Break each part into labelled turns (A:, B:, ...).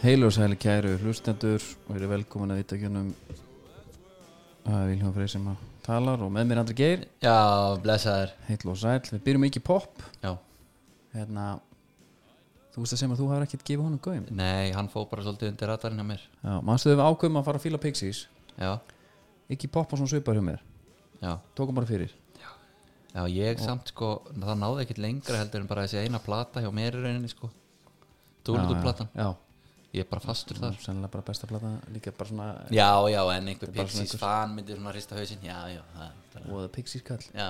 A: Heil og sæli kæru hlustendur og eru velkomin að vitakjunum að Vilhjóðan Freyr sem að talar og með mér Andri Geir
B: Já, blessaður
A: Heil og sæl, við byrjum ekki pop
B: Já.
A: hérna, Þú veist að sem að þú hafði ekkert gefið honum gauðum
B: Nei, hann fóð bara svolítið undir ratarinn á mér
A: Já, manstu þau við ákveðum að fara að fíla Pixies
B: Já,
A: ekki pop og svona svipar hjá mér
B: já,
A: tókum bara fyrir
B: já ég samt sko það náði ekkit lengra heldur en bara þessi eina plata hjá mér í rauninni sko
A: Já,
B: Dúlutúplatan,
A: Já,
B: ég er bara fastur
A: já
B: þar
A: sennilega bara besta plata líka bara svona
B: Já, já, en einhver
A: bara svona
B: Pixies fan myndir svona hrista hausinn Já, já, það er
A: og Pixies kall
B: Já,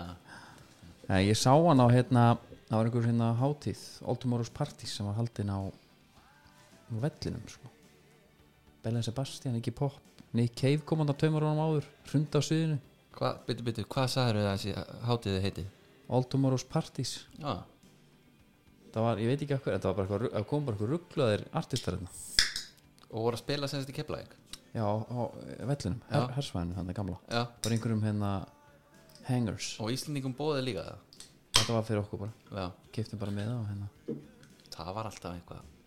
A: Nei, Eh, ég sá hann á hérna það var einhver hérna hátíð Altomoros Parties sem var haldin á á vellinum sko Belen Sebastian, ekki pop Nick Cave kom hann að taumur honum áður hrunda á sviðinu
B: Hva, byttu, byttu, hvað sagður það þessi hátíði heiti?
A: Altomoros Parties
B: Já,
A: það var, ég veit ekki af hverju, þetta var bara eitthvað ru- það kom bara eitthvað rugglaðir artistar hérna
B: og voru að spila sem þetta í Keflæk
A: já, á, á vellinum, her,
B: Já.
A: hersvæðinu þannig gamla
B: Já,
A: bara einhverjum hérna hangers
B: og Íslendingum bóði líka það
A: þetta var fyrir okkur bara,
B: Já,
A: keftum bara með það og hérna
B: það var alltaf eitthvað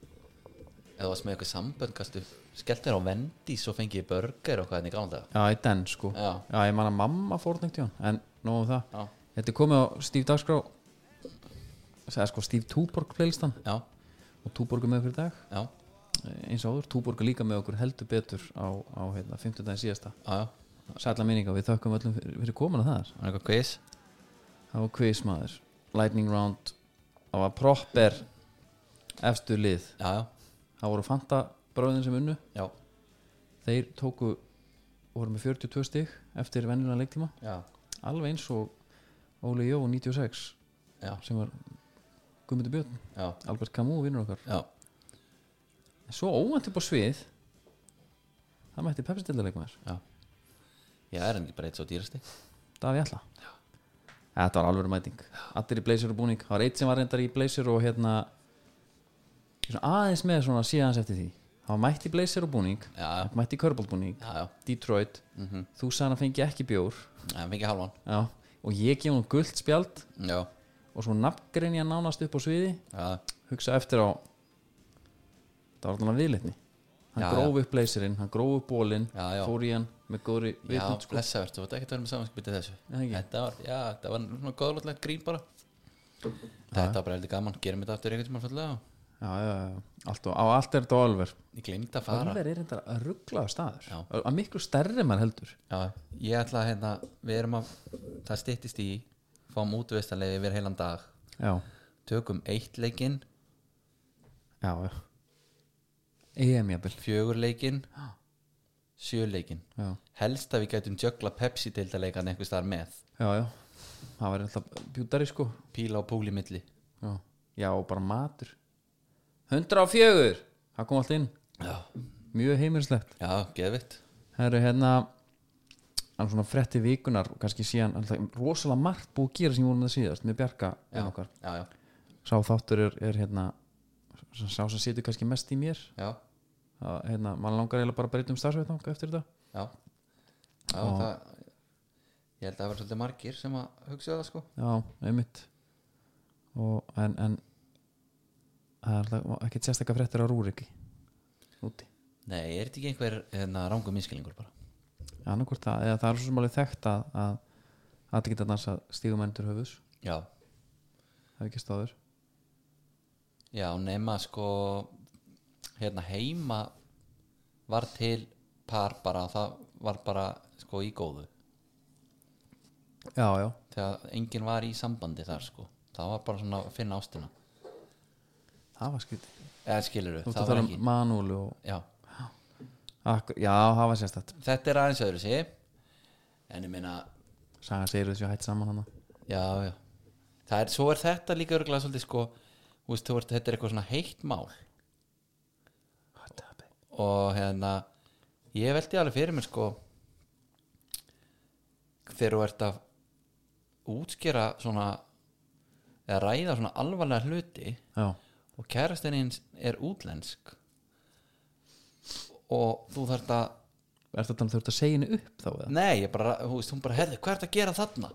B: eða varst með eitthvað sambönd gastu skellt þér á vendis og fengið burger og hérna hvað henni gáðan það
A: já, í den sko
B: já,
A: já, ég man að mamma fór neitt í hann en nóðum það
B: já,
A: Þetta er komið á Steve Dagskrá segja sko Steve Túborg playlistan
B: já,
A: og Túborg er með okkur í dag
B: já,
A: eh, eins og áður, Túborg er líka með okkur heldur betur á, á hérna, 50 daginn síðasta
B: já, já.
A: sætla minninga, við þökkum öllum fyrir, fyrir komuna þar
B: var eitthvað quiz
A: það var quiz maður, lightning round það var proper efstu lið,
B: já, já,
A: það voru Fanta bráðin sem unnu,
B: já,
A: þeir tóku voru með 42 stig eftir venjulega leiktíma,
B: já,
A: alveg eins og Óli Jó 96
B: já,
A: sem var Guðmundur Björn,
B: já,
A: Albert Camus vinnur okkar
B: já.
A: Svo óvænt upp á svið Það mætti pepstildarleikmaður
B: já er henni bara eitt svo dýrasti
A: Daví Alla Þetta var alveg mæting Allir í blazer og búning Það var eitt sem var reyndar í blazer og hérna svona aðeins með svona síðans eftir því Það var mætt í blazer og búning
B: já, já,
A: Mætt í körbóltbúning
B: já, já,
A: Detroit
B: mm -hmm.
A: Þú sagði hann að fengi ekki bjór
B: já fengið halvan
A: Já Og ég gef hann gult spjald
B: já,
A: Og svo nafngrein ég hann nánast upp á sviði
B: já,
A: Hugsa eftir á Það var allan viðleitni Hann
B: Já,
A: gróf upp blazerinn, hann gróf upp bólinn
B: já, já
A: fór í hann með góðri
B: Já,
A: vitund sko.
B: blessaður, þú veit ekki að vera með samanskipið þessu
A: Nei, ekki.
B: Þetta var, já, þetta var svona góðlótlegt grín bara Þetta var bara heldur gaman, gerum þetta aftur einhvern tímann fullega
A: já, já, já. Allt og, á allt er þetta á Ölver
B: Ég gleymdi að fara
A: Ölver er þetta að rugglaða staður
B: Já.
A: að að miklu stærri mann heldur
B: Já, ég ætla að hérna, við erum að það styttist í, fáum útvistarlegi yfir heilan dag,
A: já,
B: tökum eitt leikinn,
A: já, já EM jafnvel
B: fjögur leikinn sjö leikinn
A: já,
B: helst að við gætum jökla Pepsi deildarleikan einhvers þar með,
A: já, já, það var alltaf bjúdari sko
B: píla og púli milli
A: já. já, og bara matur 104 það kom allt inn,
B: Já,
A: mjög heimilislegt
B: já, geðvitt
A: það eru hérna hann svona fretti vikunar og kannski síðan alltaf, rosalega margt búið að gera sem ég voru með það síðast með Bjarka en okkar
B: Já, já,
A: sá þáttur er, er hérna sá sem situr kannski mest í mér
B: já,
A: að, hérna, mann langar eiginlega bara að breyta um starfsveitnang eftir þetta
B: já, já það, ég held að það vera svolítið margir sem að hugsa það sko
A: já, einmitt og, en, en það er alltaf ekki sérstakka fréttir á rúriki úti
B: Nei, er þetta ekki einhver hérna, rángum minnskilingur bara?
A: annarkvort það, eða það er svo sem alveg þekkt að að allir geta dansað stígumenntur höfus
B: Já,
A: það er ekki stáður
B: Já, nema sko hérna heima var til par bara það var bara sko í góðu
A: já, já,
B: þegar enginn var í sambandi þar sko það var bara svona að finna ástina
A: það var skriti
B: eða skilur
A: þú
B: við,
A: ert að
B: það var
A: tala
B: ekki
A: um manúlu og
B: Já,
A: akkur, já, það var sérstakt
B: þetta er aðeins öðru sé en ég meina,
A: saga segir þessu hætt saman hana
B: já, já það er, svo er þetta líka örgulega svolítið sko þú veist, þú veist, þetta er eitthvað svona heitt mál og hérna ég veldi alveg fyrir mér sko þegar þú ert að útskýra svona eða ræða svona alvarlega hluti
A: já,
B: og kærasteinins er útlensk og þú þarft að
A: ertu að tala um þurft að segja henni upp þá eða?
B: nei, ég bara, þú veist, hún bara herði, hvað ert að gera þarna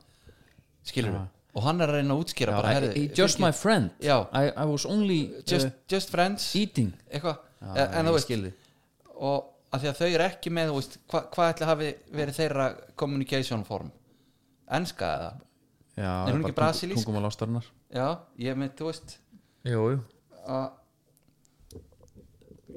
B: skilur
A: Já.
B: og hann er að reyna að útskýra bara,
A: I,
B: herði,
A: I- just my friend
B: Já.
A: I, I was only
B: just,
A: uh,
B: just friends
A: eating
B: eitthvað E,
A: Já,
B: en þú
A: ég
B: veist
A: skil þig.
B: og af því að þau eru ekki með þú veist, hva, hvað ætli hafi verið þeirra communication form enska eða
A: Já,
B: Er hún ekki
A: bara
B: brasilísk?
A: Tungumál ástarinnar
B: já, ég með, þú veist
A: Jú, jú
B: að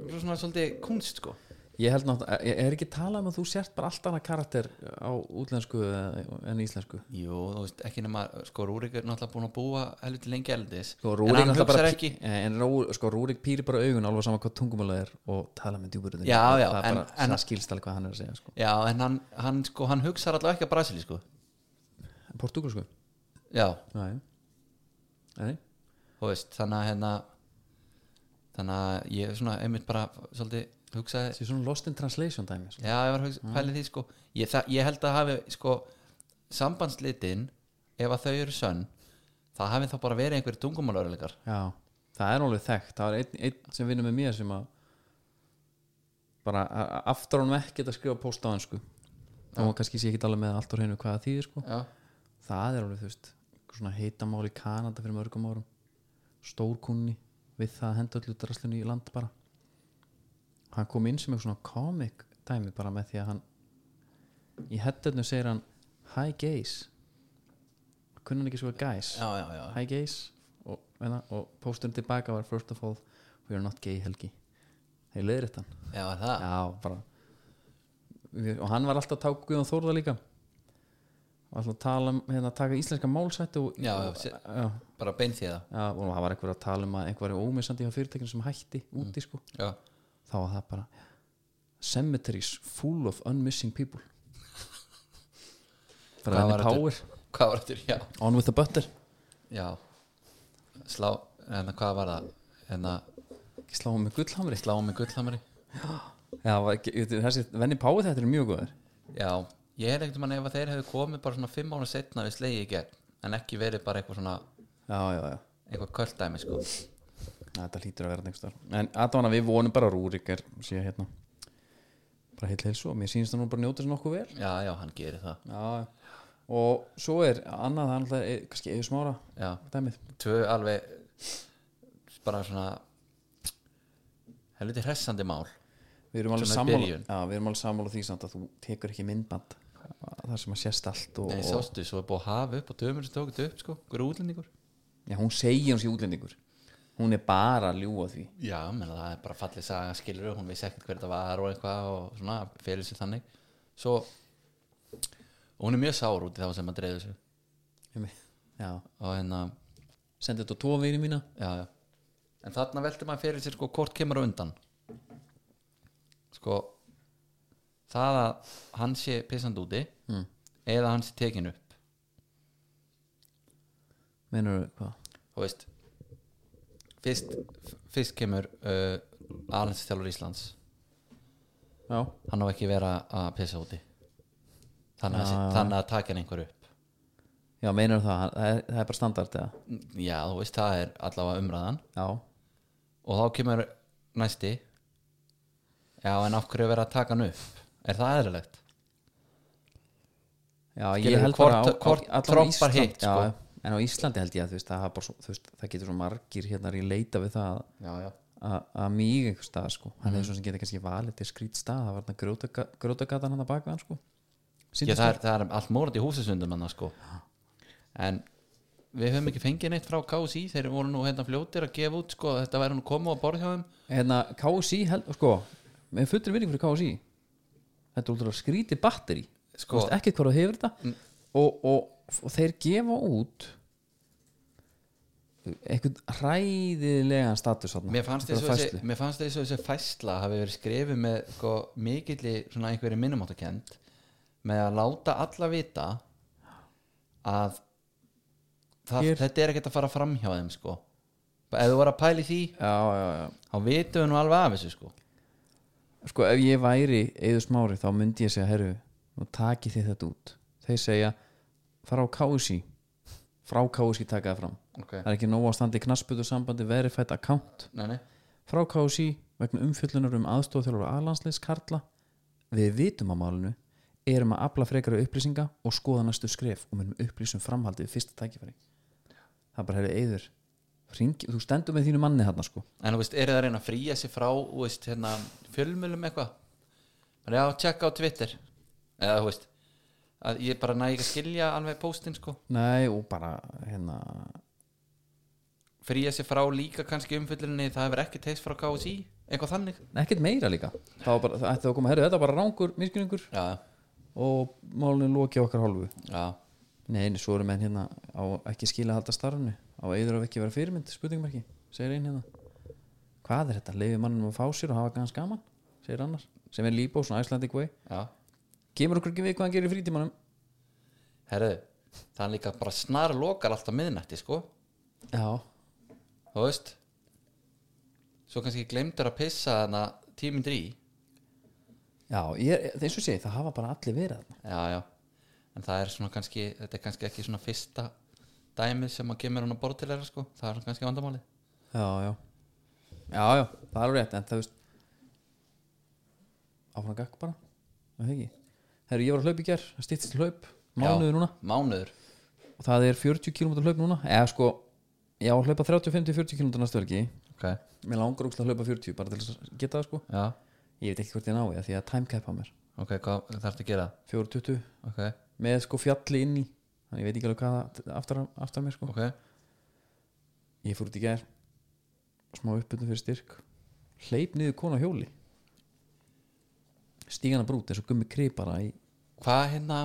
B: Svo svona svolítið kunst sko
A: Ég held náttúrulega, ég er ekki talað um að þú sért bara allt annað karakter á útlensku eh, en íslensku
B: Jú, þú veist, ekki nema, sko Rúrik er náttúrulega búin að búa helviti lengi eldis
A: Sko,
B: en
A: Rúrik
B: hann
A: náttúrulega
B: hugsar
A: bara
B: ekki
A: En Rú, sko, Rúrik pýrir bara augun alveg sama hvað tungumálið er og tala með djúburðin
B: Já, já,
A: það,
B: en-
A: bara,
B: en-
A: það skilst alveg hvað hann er að segja sko.
B: Já, en hann, hann sko, hann hugsar allavega ekki að Brasili sko
A: Portugalsku
B: Já,
A: Nei, Nei.
B: þú veist, þannig að hérna þannig að ég svona einmitt bara svolítið hugsaði
A: Þessi svona lost in translation dæmi sko.
B: Já, ég var hugsa, pælið því sko ég, það, ég held að hafi sko sambandslitin, ef að þau eru sönn það hafi þá bara verið einhverjir tungumálörleikar
A: Já, það er alveg þekkt Það er einn ein sem vinnur með mér sem að bara a- a- aftur hann ekkert að skrifa post á hansku þá var kannski sé ekki alveg með allt á hreinu hvað það þýðir sko
B: Já,
A: það er alveg þú veist einhver svona heitamál í Kanada fyrir mörgum árum stórkunni við það að henda öllu draslinu í land bara hann kom inn sem eitthvað svona comic dæmi bara með því að hann í hettetnu segir hann hi gays kunni hann ekki svo guys
B: já, já, já.
A: hi gays og, meina, og pósturinn tilbaka var first of all we are not gay helgi þeir leiðir þetta hann
B: já er það
A: já, bara Við- og hann var alltaf að taka Guðan Þórða líka og alltaf að tala um hérna, að taka íslenska málsættu og,
B: Já, já,
A: og,
B: sé-
A: já,
B: bara beint því það
A: já, og það var einhver að tala um að einhver er ómissandi hjá fyrirtækinu sem hætti
B: Mm.
A: úti sko
B: Já,
A: þá var það bara cemeteries full of unmissing people bara
B: Hvað
A: henni
B: var þetta?
A: power
B: hvað var þetta? Já,
A: on with the butter
B: já Slá, hérna, hvað var það? Hérna,
A: ekki sláum með gullhamri
B: sláum með gullhamri
A: já, var ekki, þessi venni power þetta er mjög góður
B: Já, ég er ekkert mann ef að þeir hefðu komið bara svona fimm ára setna við slegi í gegn en ekki verið bara eitthvað svona
A: já, já, já
B: eitthvað kvöldæmi sko
A: Þetta hlýtur að vera nengstar En aðdána við vonum bara að Rúrik er síðan hérna bara heill heilsu og mér sýnist að hún bara njóta sér nokkuð vel
B: Já, já, hann gerir það
A: Já Og svo er annað það er náttúrulega eh, kannski eða smára
B: Já,
A: dæmið
B: tvö alveg bara svona helviti hressandi mál
A: Við erum alveg
B: Svona í
A: sammála,
B: byrjun.
A: já, við erum alveg sammála því samt að þú tekur ekki myndband þar sem að sést allt og,
B: Nei,
A: og,
B: sástu, svo er búið að hafa upp og dömur sem tók þetta upp sko, hver útlendingur
A: Já, hún segir hún sé útlendingur Hún er bara að ljúga því
B: Já, menn það er bara fallið saga skilur hún vissi ekkert hver þetta var og eitthvað og svona, fyrir sér þannig Svo, og hún er mjög sár út í þá sem að dreifðu sig
A: Já,
B: og hérna,
A: sendi þetta á tvo vini mína
B: já, já. en þarna veldur maður fyrir sér sko hvort kemur á undan sko það að hann sé pissand úti
A: Mm.
B: eða hann sé tekin upp
A: Menur hvað?
B: þú veist fyrst, fyrst kemur uh, alhansstjálfur Íslands
A: Já,
B: hann á ekki að vera að pissa úti þannig að,
A: Já, já.
B: þannig að taka hann einhver upp
A: já menur það, það er, það er bara standart eða
B: já þú veist það er allavega umræðan
A: Já,
B: og þá kemur næsti já en af hverju er verið að taka hann upp er það eðrilegt
A: Já,
B: Skilurðu,
A: ég held
B: hvort-
A: bara á,
B: hvort
A: á, allan á
B: trompar
A: Ísland-
B: hitt, sko.
A: já, En á Íslandi held ég að þú veist, það, hafa bara, svo- þú veist, það getur svo margir hérna í leita við það
B: já já
A: að- að mýg einhver stað sko. hann
B: Mm.
A: hefur svo sem getur kannski valið til skrýt stað það var þarna grjótaga- grjótagatan hann að baka hann sko.
B: Já,
A: Sýndist
B: það, er, það er allt mórandi húsasundum hann sko. en við höfum ekki fengið neitt frá KSI þeir voru nú hérna fljótir að gefa út sko, að þetta væri nú koma á borð hjá þeim
A: mér. hérna, KSI held, sko, með fullri vinning fyrir KSI þetta er útrúlega skrýti batteri
B: Sko.
A: sko. ekkert hvað það hefur þetta og, og, og þeir gefa út einhvern hræðilegan status þarna.
B: mér fannst
A: Einhverja
B: þessu þessi,
A: færslu.
B: mér fannst þessu þessi fæsla hafi verið skrifið með sko, mikilli svona einhverju minnumáttakend með að láta alla vita að það,
A: Hér-
B: þetta er ekkert að fara fram hjá þeim sko. ef þú voru að pæli því
A: já, já, já
B: þá vitum við nú alveg af þessu sko.
A: sko ef ég væri eður smári þá myndi ég segja herru, nú taki þið þetta út þeir segja, fara á KSI frá KSI taka það fram
B: okay.
A: það er ekki nóg á standi knassbötu sambandi verified account
B: nei, nei.
A: frá KSI vegna umfjöllunar um aðstofþjálfur aðlandsleis Karla við vitum á málinu erum að afla frekari upplýsinga og um skoða næstu skref og munum upplýsum framhaldið við fyrsta tækifæri það er bara herri eður Ringi, þú stendur með þínu manni þarna sko
B: En þú veist, eru það að reyna að fríja sér frá þú veist, hérna, fjölmjölum eitthvað bara já, tjekka á Twitter eða þú veist að ég bara næg að skilja alveg póstinn sko
A: Nei, og bara hérna
B: fríja sér frá líka kannski umfyllinni það hefur ekki teist frá KSI, eitthvað þannig
A: ekkert meira líka það var bara, það ætti að koma, herru, þetta var bara rángur miskuningur
B: já,
A: og málinu loki á okkar hálfu
B: já,
A: Nei, en svo eru menn hérna á ekki skila að halda starfnu á eður af ekki vera fyrirmynd, spurningmarki segir einn hérna Hvað er þetta? Leifi mannum að fá sér og hafa gans gaman segir annar, sem er líbó, svona Icelandic way
B: já
A: Kemur okkur ekki við hvað hann gerir í frítímanum
B: herðu, það er líka bara snar lokar alltaf miðnætti sko
A: Já,
B: þú veist svo kannski glemdur að pissa þannig að tímyndir í
A: já, ég, eins og sé, það hafa bara allir verið þarna
B: já, já, en það er svona kannski þetta er kannski ekki svona fyrsta dæmið sem að kemur hann að borð til þeirra sko það er kannski vandamáli
A: Já, já Já, já, það er alveg rétt en það veist áfram gakk bara það er ekki Herru, ég var að hlaup í ger, það stýttist hlaup mánuði núna
B: mánuður,
A: og það er 40 km hlaup núna eða sko, ég á að hlaupa 35-40 km næstu helgi
B: ok,
A: mér langar ógst að hlaupa 40 bara til að geta það sko
B: já
A: ég veit ekki hvort ég nái það því að time cap á mér
B: ok, hvað þarf að gera
A: 4.20
B: ok,
A: með sko fjalli inn í þannig ég veit ekki alveg hvað það- aftar, aftar mér sko
B: ok,
A: ég fór út í gær smá uppbyrnum fyrir styrk hleyp niður konu á hjóli stígana brút eins og gummi kripara í
B: hvað hérna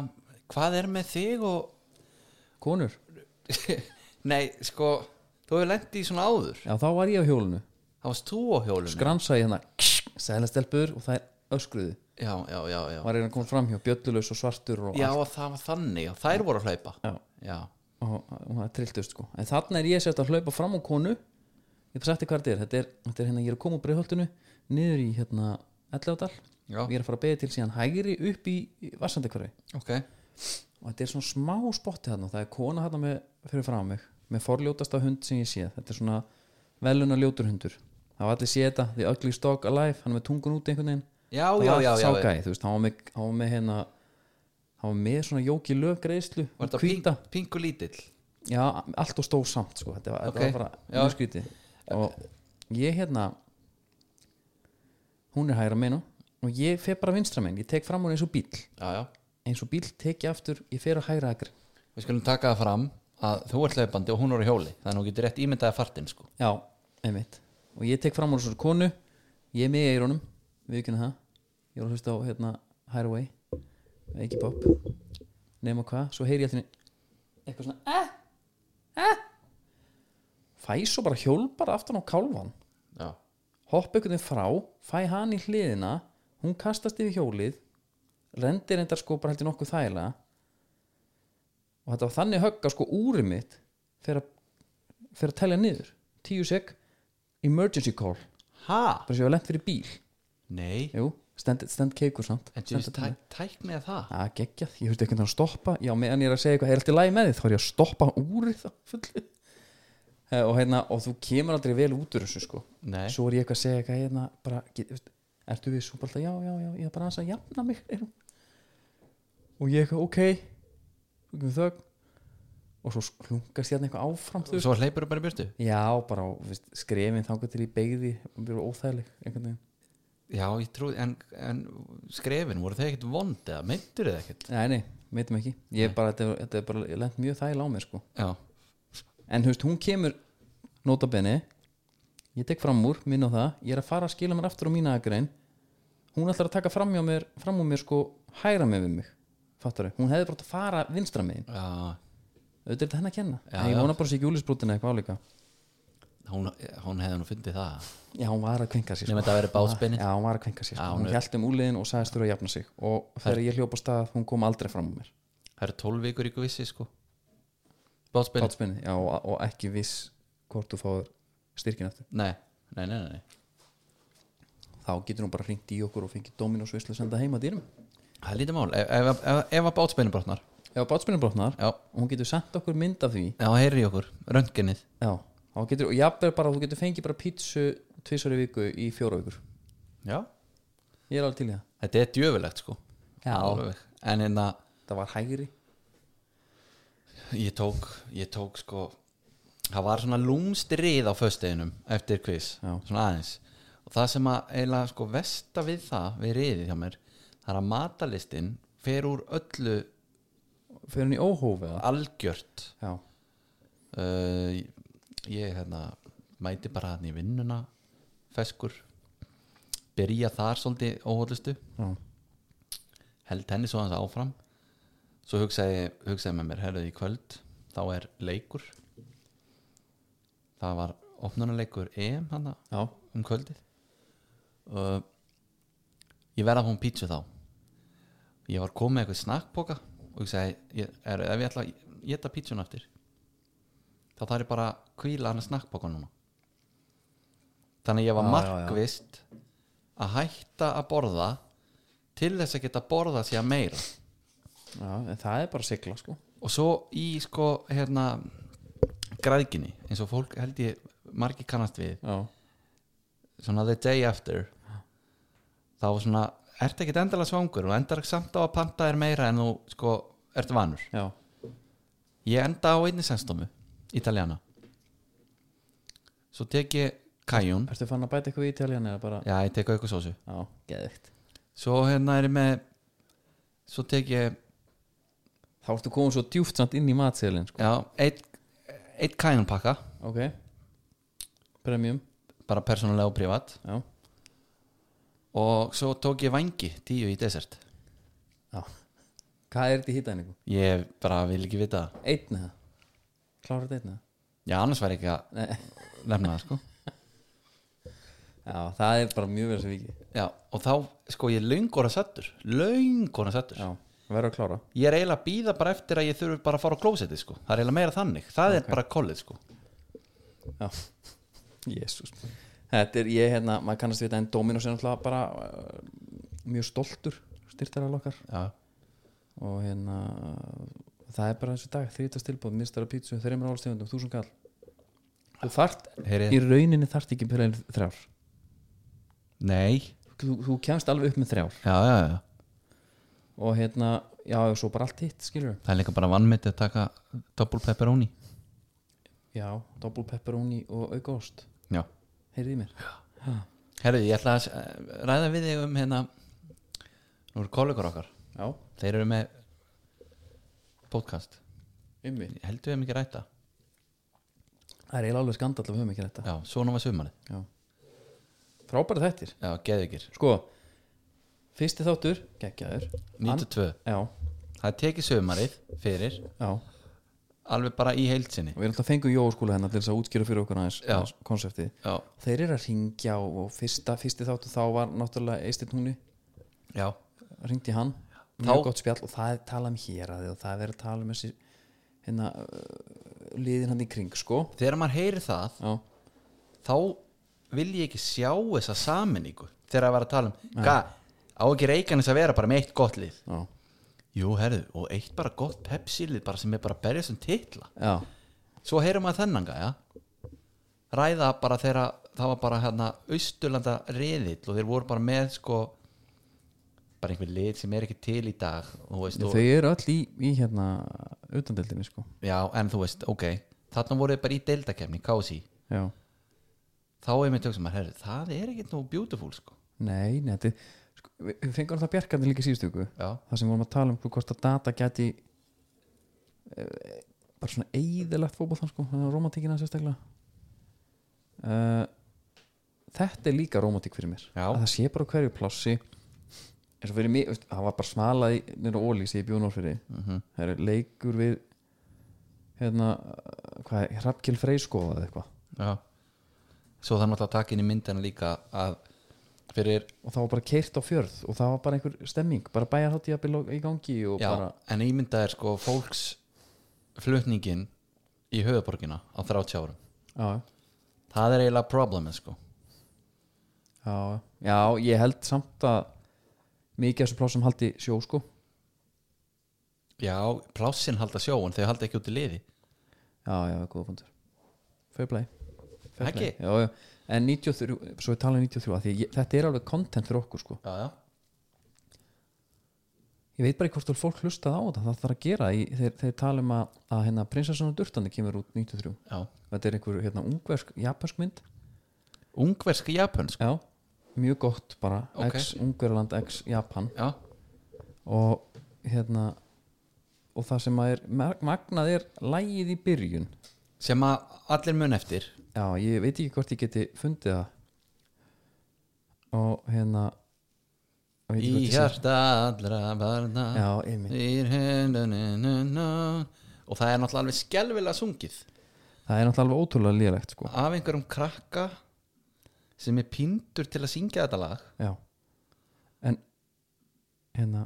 B: hvað er með þig og
A: konur
B: nei, sko, þú hefur lent í svona áður
A: já þá var ég á hjólinu,
B: það varst þú á hjólunni
A: skransaði hérna sælastelpur og það er öskruðu
B: já, já, já, já,
A: var hérna einhvern komið fram hjá bjöllulaus og svartur og,
B: já, og það var þannig og þær voru að hlaupa
A: Já.
B: já,
A: og, og það trilltust sko en þarna er ég sett að hlaupa fram á konu ég hef sagt þér hvað þetta er þetta er, þetta er hérna, ég er að koma úr breyðholtinu niður í hérna Ellegadal
B: Já.
A: og ég er að fara að beða til síðan hægri upp í vassandekvarfi
B: ok,
A: og þetta er svona smá spotti þarna og það er kona þarna með, fyrir frá mig með forljótasta hund sem ég sé þetta er svona veluna ljótur hundur það var allir sé þetta, The Ugly Stock Alive hann er með tungun út einhvern veginn
B: já,
A: það
B: já,
A: var
B: já, já, já.
A: ságæði, þú veist, hann var með, hann var með hérna hann var með svona jóki löggreiðslu
B: var þetta pink,
A: hvíta,
B: pinku lítill
A: já, allt og stóð samt sko, þetta var,
B: Ok,
A: þetta var
B: já.
A: bara mjög skrítið og ég hérna hún er hægra meina og ég fer bara vinstra meina, ég tek fram hún eins og bíl
B: já, já,
A: eins og bíl tek ég aftur, ég fer að hægra agri
B: við skulum taka það fram að þú ert hlaupandi og hún er á hjóli þannig að hún getur rétt ímyndaði fartin sko
A: Já, einmitt Og ég tek fram úr svona konu Ég er með í eyrunum, við ekki það Ég var að hlusta á hérna Highway Ekki pop Nefna hvað, svo heyri ég allir Eitthvað svona eh, eh. Fæ svo bara hjólbar aftan á kálfan
B: já,
A: Hoppa einhvern veginn frá Fæ hann í hliðina Hún kastast yfir hjólið Rendi reyndar sko bara heldur nokkuð þægilega Og þetta var þannig högg að sko úrið mitt Fyrir að fyrir að telja niður tíu sek emergency call
B: ha?
A: bara sem ég var lent fyrir bíl
B: nei,
A: Jú, stend, stend keikur samt
B: en þú veist tæ, tæknið það
A: að geggjað, ég veist ekki að stoppa já, meðan ég er að segja eitthvað, er allt í lagi með þið þá er ég að stoppa úrið á fullu Eh, og hérna, og þú kemur aldrei vel út úr þessu sko
B: nei,
A: svo er ég eitthvað að segja eitthvað hérna bara, get, veist, ertu við svo bara alltaf, já, já, já ég er bara aðeins að jafna mig er hún. og ég eitthvað, ok Svo kemur þögn. og svo klunkast ég hérna eitthvað áfram þú veist.
B: svo hleypur þú bara í björtu
A: Já, bara á, þú veist, skrefin þangar til í beigði og byrja óþægileg einhvern veginn.
B: já, ég trúi, en, en skrefin voru þau ekkert vond eða meintur þið ekkert
A: Nei, nei, veitum ekki Ég er bara, þetta, er- þetta er bara ég lent mjög þægileg á mér sko.
B: já,
A: En þú veist, hún kemur notabene Ég tek fram úr, minn á það Ég er að fara að skila mér aftur á mína agrein Hún ætlar að taka fram hjá mér fram úr mér sko hægra með við mig Fattar Hún hefði bara átt að fara vinstra megin
B: já,
A: Auðvitað er þetta henni að kenna
B: Já,
A: En ég
B: já.
A: vona bara sér ekki úlisbrútin eitthvað álíka
B: hún, hún hefði nú fundið það
A: Já, hún var að kvenka sér
B: nema þetta að vera bátspinni
A: Já, hún var að kvenka sér
B: sko. Ah,
A: sko. Hún
B: Já, hún
A: held um úliðin og sagðist þurfa að jafna sig Og þegar ég hljópa stað, hún kom aldrei fram úr mér
B: það eru tólf vikur ykkur vissi sko bátspinni,
A: Bátspinni, já, og, og ekki viss hvort þú fáður styrkin eftir
B: nei, nei, nei, nei, nei
A: þá getur hún bara hringt í okkur og fengið Dominos vislu að senda heima dýrum
B: það er lítið mál, ef, ef, ef, ef að bátspinni brotnar
A: ef bátspinni brotnar
B: já,
A: og hún getur sendt okkur mynd af því
B: já, heyri í okkur, röntgenið
A: já, þá getur, og jafnvel bara þú getur fengið bara pítsu tvisari viku í fjóra vikur
B: já,
A: ég er alveg til í það
B: þetta er djöfulegt sko
A: Já.
B: Alveg. en hérna
A: það var hægri
B: ég tók, ég tók sko það var svona lúmstrið á föstuðinum eftir quiz,
A: Já.
B: svona aðeins og það sem að eiginlega sko vesta við það við riðið hjá mér, það er að matalistin fer úr öllu
A: Fyrir hann í óhófi eða?
B: algjört
A: Já,
B: uh, ég hérna mæti bara hann í vinnuna feskur byrja þar svolítið óhóllustu
A: já,
B: held henni svo hans áfram svo hugsaði, hugsaði með mér herrið í kvöld, þá er leikur það var opnunaleikur EM hann
A: já,
B: um kvöldið og ég verða að hún pítsu þá ég var komið með eitthvað snakkpoka og ég segi, ég, er, ef ég ætla að geta pítsuna eftir þá þarf ég bara að kvíla hann að snakkpoka núna þannig að ég
A: Já,
B: var
A: já, já.
B: markvist að hætta að borða til þess að geta borða sér meira
A: já en Það er bara að sigla sko
B: og svo í sko hérna græðginni eins og fólk held ég margir kannast við
A: Já,
B: svona the day after þá svona ertu ekkit endala svangur og endar samt á að panta þér meira en þú sko ert vanur
A: já,
B: ég enda á einni sensdómu, italiana svo tek ég kajun
A: ertu fann að bæta eitthvað í Ítaljan eða bara
B: já ég tek auka sósu
A: Já, geðvikt
B: svo hérna er ég með svo tek ég
A: Þá ertu komin svo djúft samt inn í matseðlinn sko
B: já, eitt, eitt kajun pakka
A: Ok Premium,
B: bara persónulega og privat
A: já
B: og svo tók ég vangi tíu í desert
A: Já Hvað er þetta í hýtaðningu?
B: ég bara vil ekki vita það
A: Einn eða? Klára þetta einn eða?
B: já annars væri ekki að
A: Nei
B: nefna það sko
A: Já, það er bara mjög verið sem viki
B: Já, og þá, sko, ég er löngur að sattur Löngur að sattur
A: Já, verður að klára
B: Ég er eiginlega að býða bara eftir að ég þurfi bara að fara á klósetti, sko Það er eiginlega meira þannig, það er bara kollið, sko
A: Já, jésús Þetta er, ég hérna, maður kannast við þetta en Dominos er náttúrulega bara uh, mjög stoltur styrtarar okkar
B: Já,
A: og hérna það er bara eins og í dag, þrítast tilbúð mistara pítsu, þreymur álstegundum, þúsund kall þú þart,
B: heyri,
A: í rauninni þart ekki fyrir en þrjár
B: nei
A: þú, þú kemst alveg upp með þrjár
B: Já, já, já,
A: og hérna, já, og svo bara allt hitt skilur,
B: það er líka bara vannmyndið að taka Double pepperoni
A: já, double pepperoni og auka ost,
B: Já,
A: heyrið í mér
B: herriði, ég ætla að eh, ræða við þig um hérna Nú eru kollegur okkar
A: já,
B: Þeir eru með podcast
A: ummi,
B: Heldur við mikið ræta
A: það er eiginlega alveg skandall að við höfum ekki þetta,
B: Já, svona var sumarið
A: já frábæra þettir
B: Já, geðvikir,
A: sko fyrsti þáttur, geggjaður
B: 92
A: já,
B: Það er tekið sumarið fyrir
A: já,
B: alveg bara í heilsinni
A: og við erum alltaf fengum jóskúla hennar til þess að útskýra fyrir okkur aðeins,
B: Já.
A: aðeins konseptið
B: já,
A: þeir eru að ringja og, og fyrsta, fyrsti þáttu þá var náttúrulega Eistir Túni,
B: já,
A: ringdi hann
B: Þá-
A: mjög gott spjall og það er talað um hér að og það er verið að tala um þessi hérna, uh, liðin hann í kring sko
B: þegar maður heyri það
A: já,
B: þá vil ég ekki sjá þessa saminningu þegar að vera að tala um hvað, á ekki reikanins að vera bara með eitt gott lið
A: já,
B: jú, herðu, og eitt bara gott pepsilið bara sem er bara að berja sem titla
A: já,
B: svo heyrum maður þennan gæja ræða bara þegar það var bara hérna austurlanda reðill og þeir voru bara með sko bara einhver lið sem er ekki til í dag þú veist, og,
A: þau eru öll í, í hérna utandeldinni sko
B: já, en þú veist, ok þarna voru þeir bara í deildakefni, kási
A: já,
B: þá er mér tökum að herri, það er ekkert nú beautiful sko.
A: nei, nei þetta, er- sko, við, við fengum það bjarkandi líka síðustu ykkur
B: já,
A: það sem vorum að tala um hvað hvort að data gæti eh, bara svona eðilegt fótboltan sko, þannig að romantíkina sérstaklega uh, þetta er líka romantík fyrir mér
B: Já.
A: að það sé bara á hverju plássi eins og fyrir mig, veist, það var bara smalað nýra ólís í bjónor fyrir
B: Mhm.
A: það eru leikur við hérna, eh, hvað er, Hrafkjöld Freyskoða eða eitthvað
B: já. svo það er náttúrulega að taka inn í myndina líka að fyrir,
A: og það var bara keirt á fjörð og það var bara einhver stemming, bara bæjarháttíðabil í gangi og
B: já,
A: bara,
B: en ímynda er sko fólks flutningin í höfuborgina á 30 árum
A: já,
B: það er eiginlega problemið sko
A: Já, já, ég held samt að mikið af þessu plásum haldi sjó sko
B: já, plássin halda sjó en þau halda ekki út í liði
A: Já, já, góða fundur Fair play, Fair play.
B: Ekki?
A: Já, já. En 93, svo við tala um 93 af því, að ég, þetta er alveg content fyrir okkur sko
B: já, já,
A: ég veit bara ekki hvort að fólk hlustað á þetta það þarf að gera, í, þeir, þeir tala um að, að hérna, prinsessan og durtandi kemur út 93
B: já,
A: þetta er einhver hérna, ungversk, japansk mynd
B: ungversk sko. japansk
A: já, mjög gott bara
B: Ok.
A: ex Ungverland, ex Japan
B: já,
A: og hérna og það sem að er mag- magnað er lægið í byrjun
B: sem að allir mun eftir
A: já, ég veit ekki hvort ég geti fundið það og hérna ég veit ekki
B: í
A: hvort ég sé-
B: hjarta allra barna
A: já, einmitt,
B: í henduninu og það er náttúrulega alveg skelvilega sungið
A: það er náttúrulega alveg ótrúlega lélegt sko,
B: af einhverjum krakka sem er pindur til að syngja þetta lag
A: já en hérna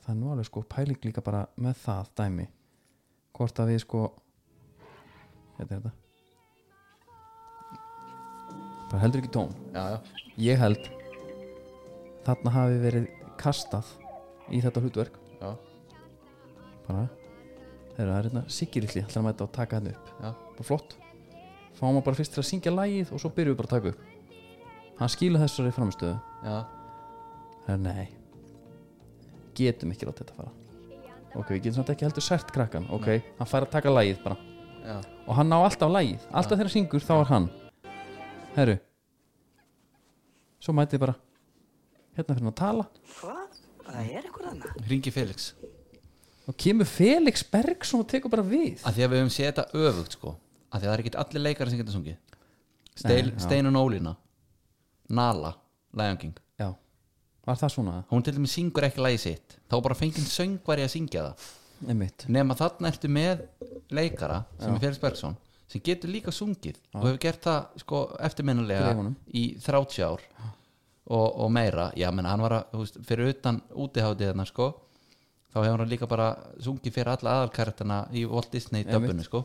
A: það er nú alveg sko pæling líka bara með það dæmi, hvort að við sko hérna er þetta bara heldur ekki tón
B: já, já,
A: ég held þarna hafi verið kastað í þetta hlutverk
B: já,
A: bara þegar það er hérna siggirilli ætlar að mæta og taka hann upp
B: já.
A: bara flott fáum hann bara fyrst til að syngja lagið og svo byrjum við bara að taka upp hann skýla þessari framistöðu
B: já.
A: það er nei getum ekki látt þetta fara ok, við getum samt ekki heldur sært krakkan ok, hann fær að taka lagið bara
B: já.
A: og hann ná alltaf lægið alltaf þegar hann syngur þá er hann herru svo mæti ég bara hérna fyrir hann að tala
C: Hvað? Það er eitthvað annað.
B: ringi Felix
A: og kemur Felix Bergson og tekur bara við
B: að því að við höfum séð þetta öfugt sko að því að það er ekkert allir leikari sem geta sungið Steil, Steinun Ólína Nala, Lion King
A: já, var það svona
B: hún til dæmis syngur ekki lagi sitt þá bara fengið söngvari að syngja það
A: einmitt,
B: nema þarna ertu með leikara sem er Felix Bergson sem getur líka sungið og hefur gert það sko eftirminnulega
A: Grefunum.
B: í 30 ár og, og meira, já menn hann var að þú veist, fyrir utan útiháttið þarna sko þá hefur hann líka bara sungið fyrir alla aðalkarættina í Walt Disney döbbunni sko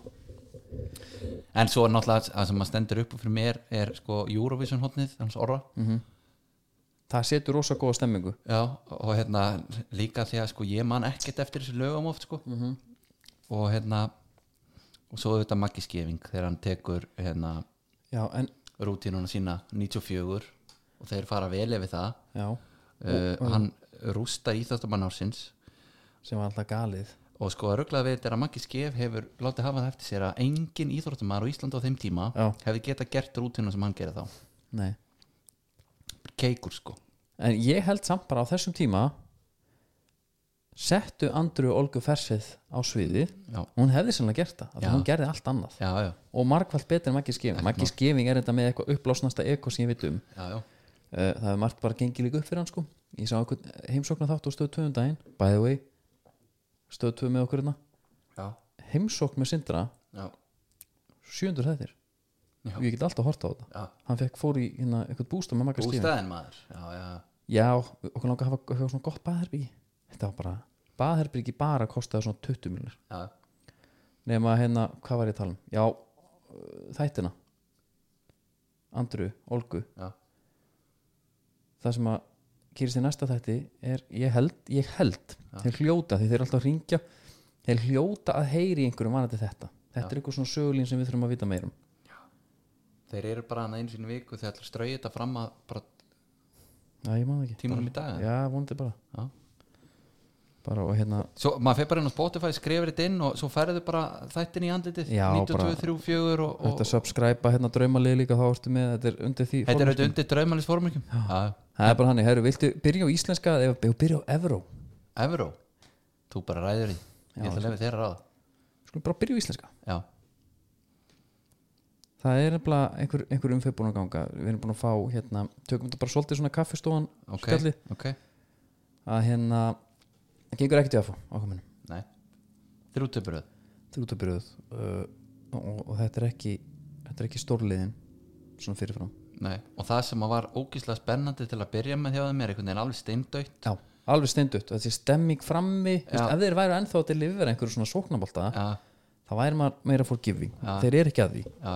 B: en svo er náttúrulega það sem að stendur upp úr fyrir mér er sko Eurovision hotnið hans orra
A: það setur rosa góða stemmingu
B: Já, og hérna líka því að sko ég man ekkert eftir þessu lögum oft sko -hmm. og hérna og svo auðvitað Maggi Skefing þegar hann tekur hérna
A: já, en,
B: rútínuna sína 94 og þeir fara vel yfir það
A: já,
B: uh, hann rústa íþjóttamann ársins
A: sem var alltaf galið
B: og sko rugglað við þetta er að Maggi Skef hefur látið hafa það eftir sér að engin íþjóttamann á Íslandi á þeim tíma
A: Já.
B: hefði geta gert rútínuna sem hann gerði þá
A: nei,
B: keikur sko
A: en ég held samt bara á þessum tíma settu Andru Olgu Fersið á sviði
B: Já.
A: hún hefði sannlega gert það, af því
B: Já.
A: hún gerði allt annað
B: já, já,
A: og margfald betur en Maggi Skefing Maggi Skefing er þetta með eitthvað upplásnasta eko sem ég veit um
B: já, já,
A: Eh, það hefur margt bara gengið líka upp fyrir hann sko ég sá einhvern heimsóknar þátt og stöð 2 um daginn by the way stöð 2 með okkur hérna
B: já,
A: heimsókn með Sindra
B: já,
A: sjöndur þettir
B: Já.
A: ég get alltaf horta á þetta
B: já.
A: hann fekk fór í hérna eitthvað bústað með Magga Skefing
B: bústæðin maður já, já,
A: já okkur langar að hafa eitthvað svona gott baðherbyggi þetta var bara baðherbyggi bara kostaði svona 20 miljonir
B: já.
A: nema hérna hvað var ég að tala um já eh, þættina Andru, Olgu
B: Já.
A: það sem að gerist í næsta þætti er ég held, ég held þeir hljóta því þeir eru alltaf að ringja þeir hljóta að heyri í einhverjum varandi þetta þetta er einhver svona sögulín sem við þurfum að vita meir um
B: Þeir eru bara hann einu sinni í viku þegar ætlar að strauja þetta fram að bara
A: já ég man það ekki
B: tímanum í dag
A: já vonandi bara,
B: Já.
A: bara og hérna
B: Svo maður fer bara inn á Spotify, skrifir þetta inn og svo ferðu bara þættin í andlitið
A: Já,
B: 92, 3, 4 og, og
A: þetta að subscribe hérna draumalið líka þá ertu með þetta er undir því
B: þetta er
A: formerkjum.
B: auðvitað undir draumalins formurkjum Já,
A: það er bara hann, herru, viltu byrja á íslenska eða eða byrja á Evró
B: Evró, þú bara ræður því Ég ætla að lefa þér að ráða
A: skulum bara byrja á íslenska
B: Já,
A: Það er nefnilega einhver, einhver umfeg búin að ganga Við erum búin að fá hérna Tökum þetta bara svolítið svona kaffistofan
B: ok,
A: spjalli,
B: ok
A: Að hérna Það gengur ekkert í að fá ákvæminu
B: Nei, þrjú töpuröð
A: Þrjú út af byrjuð uh, og, og þetta er ekki Þetta er ekki stórliðin Svona fyrirfram
B: Nei. Og það sem að var ógíslega spennandi til að byrja með hjá þeim er einhvern veginn alveg steindautt
A: Já Alveg steindutt og þessi stemming frammi þú veist,
B: Já.
A: Ef þeir væru ennþá til yfir einhverju svona sóknabólta
B: Já,
A: Það væri maður meira forgiving
B: Já.
A: Þeir eru ekki að því
B: já,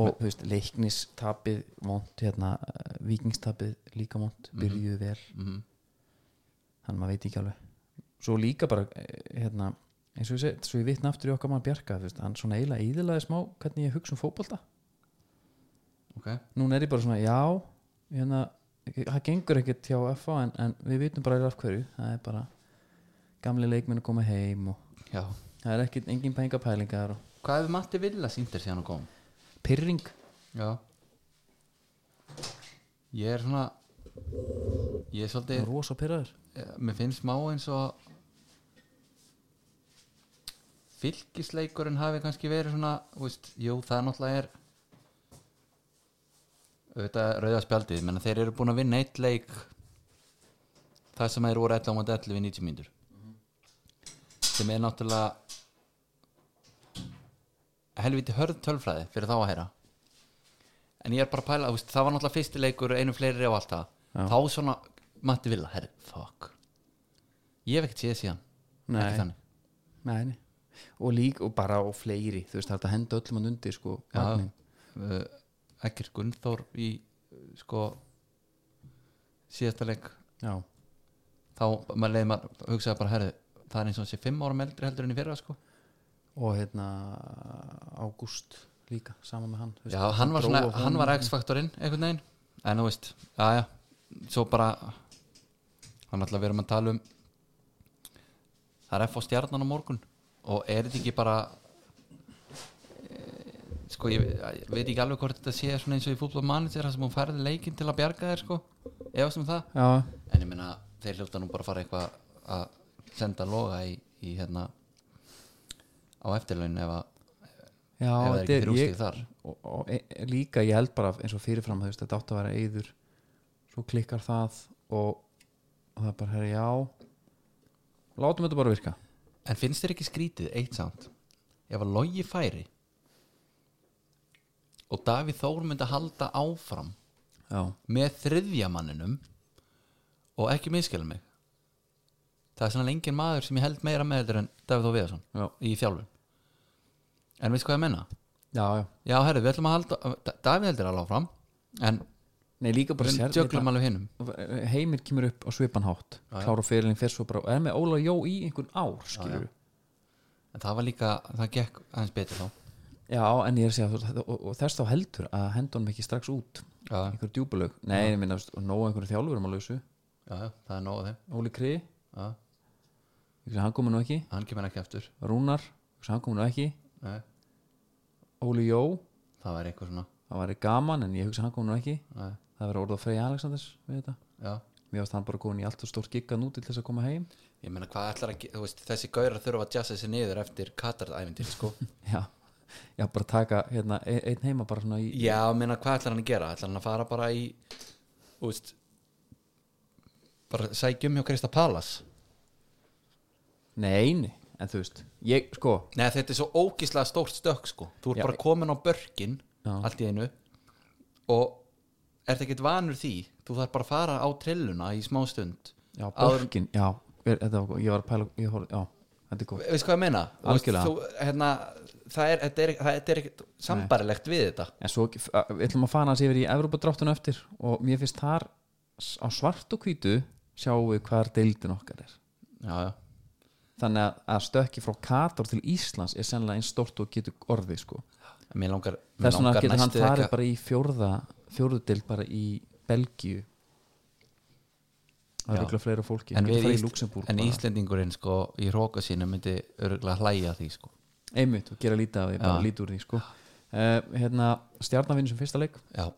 A: og þú veist, leiknis tapið vond, hérna, eh, vikingstapið líka vond, byrjuðu vel
B: Mhm.
A: þannig maður veit ekki alveg svo líka bara, eh, hérna eins og ég segi, svo ég vitna aftur í okkar maður Bjarka þú veist, hann svona eiginlega eðilaði smá hvernig ég hugsa um fótbolta
B: ok
A: núna er ég bara svona, já hérna, það gengur ekkert hjá FA en, en við vitum bara af hverju það er bara gamli leikmenn að koma heim og
B: Já.
A: það er ekkert engin penga pælingar og
B: Hvað hefur Matti Villa síndir síðan og kom?
A: pyrring
B: Já Ég er svona Ég er svolítið
A: rosa pyrraður
B: eh, Mér finnst má eins og Fylkisleikurinn hafi kannski verið svona þú veist, Jú, það náttúrulega er auðvitað rauða spjaldið menn þeir eru búin að vinna eitt leik það sem þeir voru 11 á móti 11 við 90 mínútur sem er náttúrulega helviti hörð tölfræði fyrir þá að heyra en ég er bara að pæla þú veist, það var náttúrulega fyrsti leikur einu fleiri og allt
A: Já.
B: það þá svona Matti Villa, herri, fuck ég hef ekkert séð síðan
A: Nei.
B: Ekki þannig.
A: Nei, nei. og lík og bara og fleiri þú veist það er hægt að henda öllum að undir sko
B: Já,
A: vagninn.
B: uh, ekkert Gunnþór í uh, sko síðasta leik
A: já,
B: þá maður leiði maður hugsaði bara herri það er eins og hann sé fimm ára meldri heldur en í fyrra sko
A: og hérna Ágúst líka saman með hann þú veist,
B: já hann var
A: dró
B: svona
A: á honum.
B: hann var X-faktorinn einhvern veginn en þú veist já já svo bara hann ætla að vera að tala um það er F á stjarnan á morgun og er þetta ekki bara eh, sko ég, ég veit ekki alveg hvort þetta sé svona eins og í fútbolmanager þar sem hún færði leikinn til að bjarga þér sko ef sem það
A: já,
B: en ég meina þeir hljóta nú bara að fara eitthvað að senda loga í, í hérna á eftirlaun ef að
A: já
B: Ef það er
A: þetta
B: ekki
A: er
B: þrjú
A: ég-
B: stig þar.
A: og, og e, e- líka ég held bara eins og fyrirfram þú veist þetta átt að vera eyður svo klikkar það og og það er bara herri já látum þetta bara virka
B: en finnst þér ekki skrítið eitt samt ef að logi færi og Davíð Þór myndi að halda áfram
A: já,
B: með þriðja manninum og ekki miskjölu mig það er svona engin maður sem ég held meira með heldur en Davíð Þór Viðarsson
A: já,
B: í þjálfun en veist hvað ég menna?
A: já, já.
B: já herru, við ætlum að halda Da- Davíð heldur alveg áfram en
A: Nei, líka bara
B: við
A: sér,
B: djöglum alveg hinnum
A: líka- heimir kemur upp á svipanhátt klára fyrirlin fyrir svo bara og er með Óla Jó í einhvern ár skilur
B: En það var líka, það gekk aðeins betur þá
A: já, en ég er að segja þú veist, þetta- og, og þess þá heldur að henda honum ekki strax út
B: Já,
A: einhver djúbulög, nei, ég minna og nóg einhverju þjálfurum að lausu,
B: já, já það er nóg af þeim
A: Óli Kri
B: já,
A: ég hugsa, hann komur nú ekki,
B: Hann kemur ekki aftur
A: Rúnar ég hugsa, hann komur nú ekki,
B: Nei,
A: Óli Jó
B: Það væri eitthvað svona
A: það væri gaman en ég hugsa hann kom nú ekki
B: Nei,
A: það verið orðað Freyja Alexanders við þetta
B: já
A: mér varst hann bara komin í allt og stórt gigga nú til þess að koma heim
B: Ég meina hvað ætlar að, ge- þú veist, þessi gaurar þurfa að jassa þessi niður eftir Katar-ævindir, sko
A: já, já bara taka hérna, e- einn heima bara svona í
B: Já, ég meina hvað ætlar hann að gera? Ætlar hann að fara bara í, þú veist bara sækjum hjá Krista Palas
A: nei, nei, en þú veist ég, sko,
B: Nei, þetta er svo ógislega stórt stökk, sko Þú ert
A: Já.
B: bara komin á börkin
A: Já.
B: allt í einu og ert ekkert vanur því þú þarf bara að fara á trilluna í smá stund
A: já,
B: Áður-
A: borgin já, er, þetta var góð, ég var að pæla ég horf, já, þetta er góð
B: veist hvað ég meina Þú veist,
A: Algjörlega.
B: þú, hérna, það er, þetta er, það- þetta er ekkert sambarilegt við þetta
A: en svo, f- a- við ætlum að fana hans yfir í Evrópadráttun eftir og mér finnst þar s- á svart og hvítu sjáum við hvar deildin okkar er
B: já, já.
A: þannig að, að stökki frá Katar til Íslands er sennilega eins stórt og getur orðið sko
B: En mér langar, mér
A: þess vegna
B: langar
A: getur hann
B: næstu
A: farið
B: ekki að-
A: bara í fjórða fjórðudild bara í Belgíu það
B: Já.
A: er ykkur fleira fólki
B: en,
A: Hann getur
B: við
A: farið í
B: Ísl-
A: Luxemburg
B: en
A: bara.
B: Íslendingurinn sko, í hróka sínu myndi örgulega hlæja að því sko.
A: einmitt og gera lítið af því, bara
B: Já.
A: lítið úr því sko. uh, hérna, stjarnavinn sem fyrsta leik
B: já,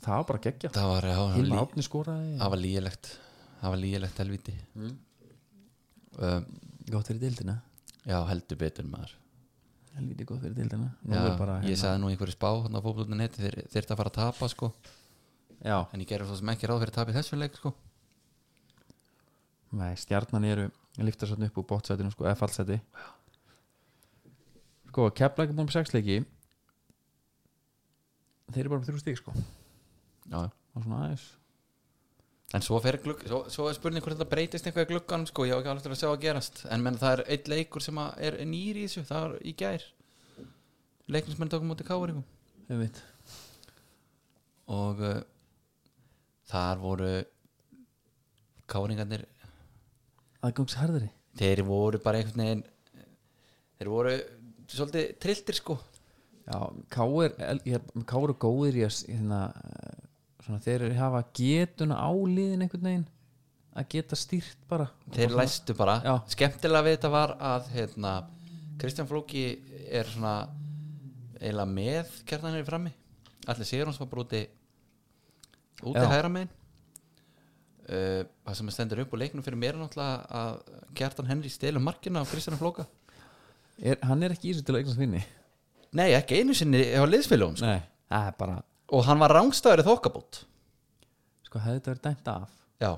A: það var bara geggja
B: það var, já, það var lí-
A: Hilma Átni skoraði,
B: það var lígilegt það var lígilegt helviti
A: Mm.
B: um,
A: gott fyrir dildina
B: já, heldur betur maður
A: lítið gott fyrir dildina Nú
B: já,
A: er bara, hérna-
B: ég sagði nú í einhverju spá þannig að fókblóðinu neti þeir þyrfti að fara að tapa sko.
A: já,
B: en ég gerir svo sem ekki ráð fyrir að tapa í þessu leik sko.
A: nei, stjarnan eru liftar svolítið upp úr bótsætinu sko, eða fallsæti sko, keflæk er búin með sex leiki þeir eru bara með þrjú stík sko
B: já, já
A: og svona aðeins
B: En svo fer glugg, svo, svo er spurning hvort þetta breytist eitthvað í glugganum sko, ég á ekki alveg til að sjá að gerast en menn það er eitt leikur sem að er nýri í þessu, það var í gær leikum sem menn tókum mútið káringum
A: einmitt
B: og uh, þar voru káringarnir
A: aðgangsharðari
B: þeir voru bara einhvern veginn þeir voru svolítið trilltir sko
A: já, Káur, ég er, Káur er góðir í að s- hérna, eh, svona, þeir eru hafa getuna á liðin einhvern veginn að geta stýrt bara
B: þeir læstu bara
A: Já.
B: skemmtilega við þetta var að hérna, Kristján Flóki er svona eiginlega með kjartanir frammi allir sigur hans var bara úti úti
A: Já.
B: hægra megin uh, það sem stendur upp og leiknum fyrir mér er náttúrulega að kjartan Henry stelur markina á Kristján Flóka
A: er, hann er ekki í þessu til að eignast vinni
B: nei ekki einu sinni á liðsfélagum sko.
A: nei, það er bara
B: og hann var rángstæður í þokkabót
A: sko, hefði þetta verið dæmt af
B: já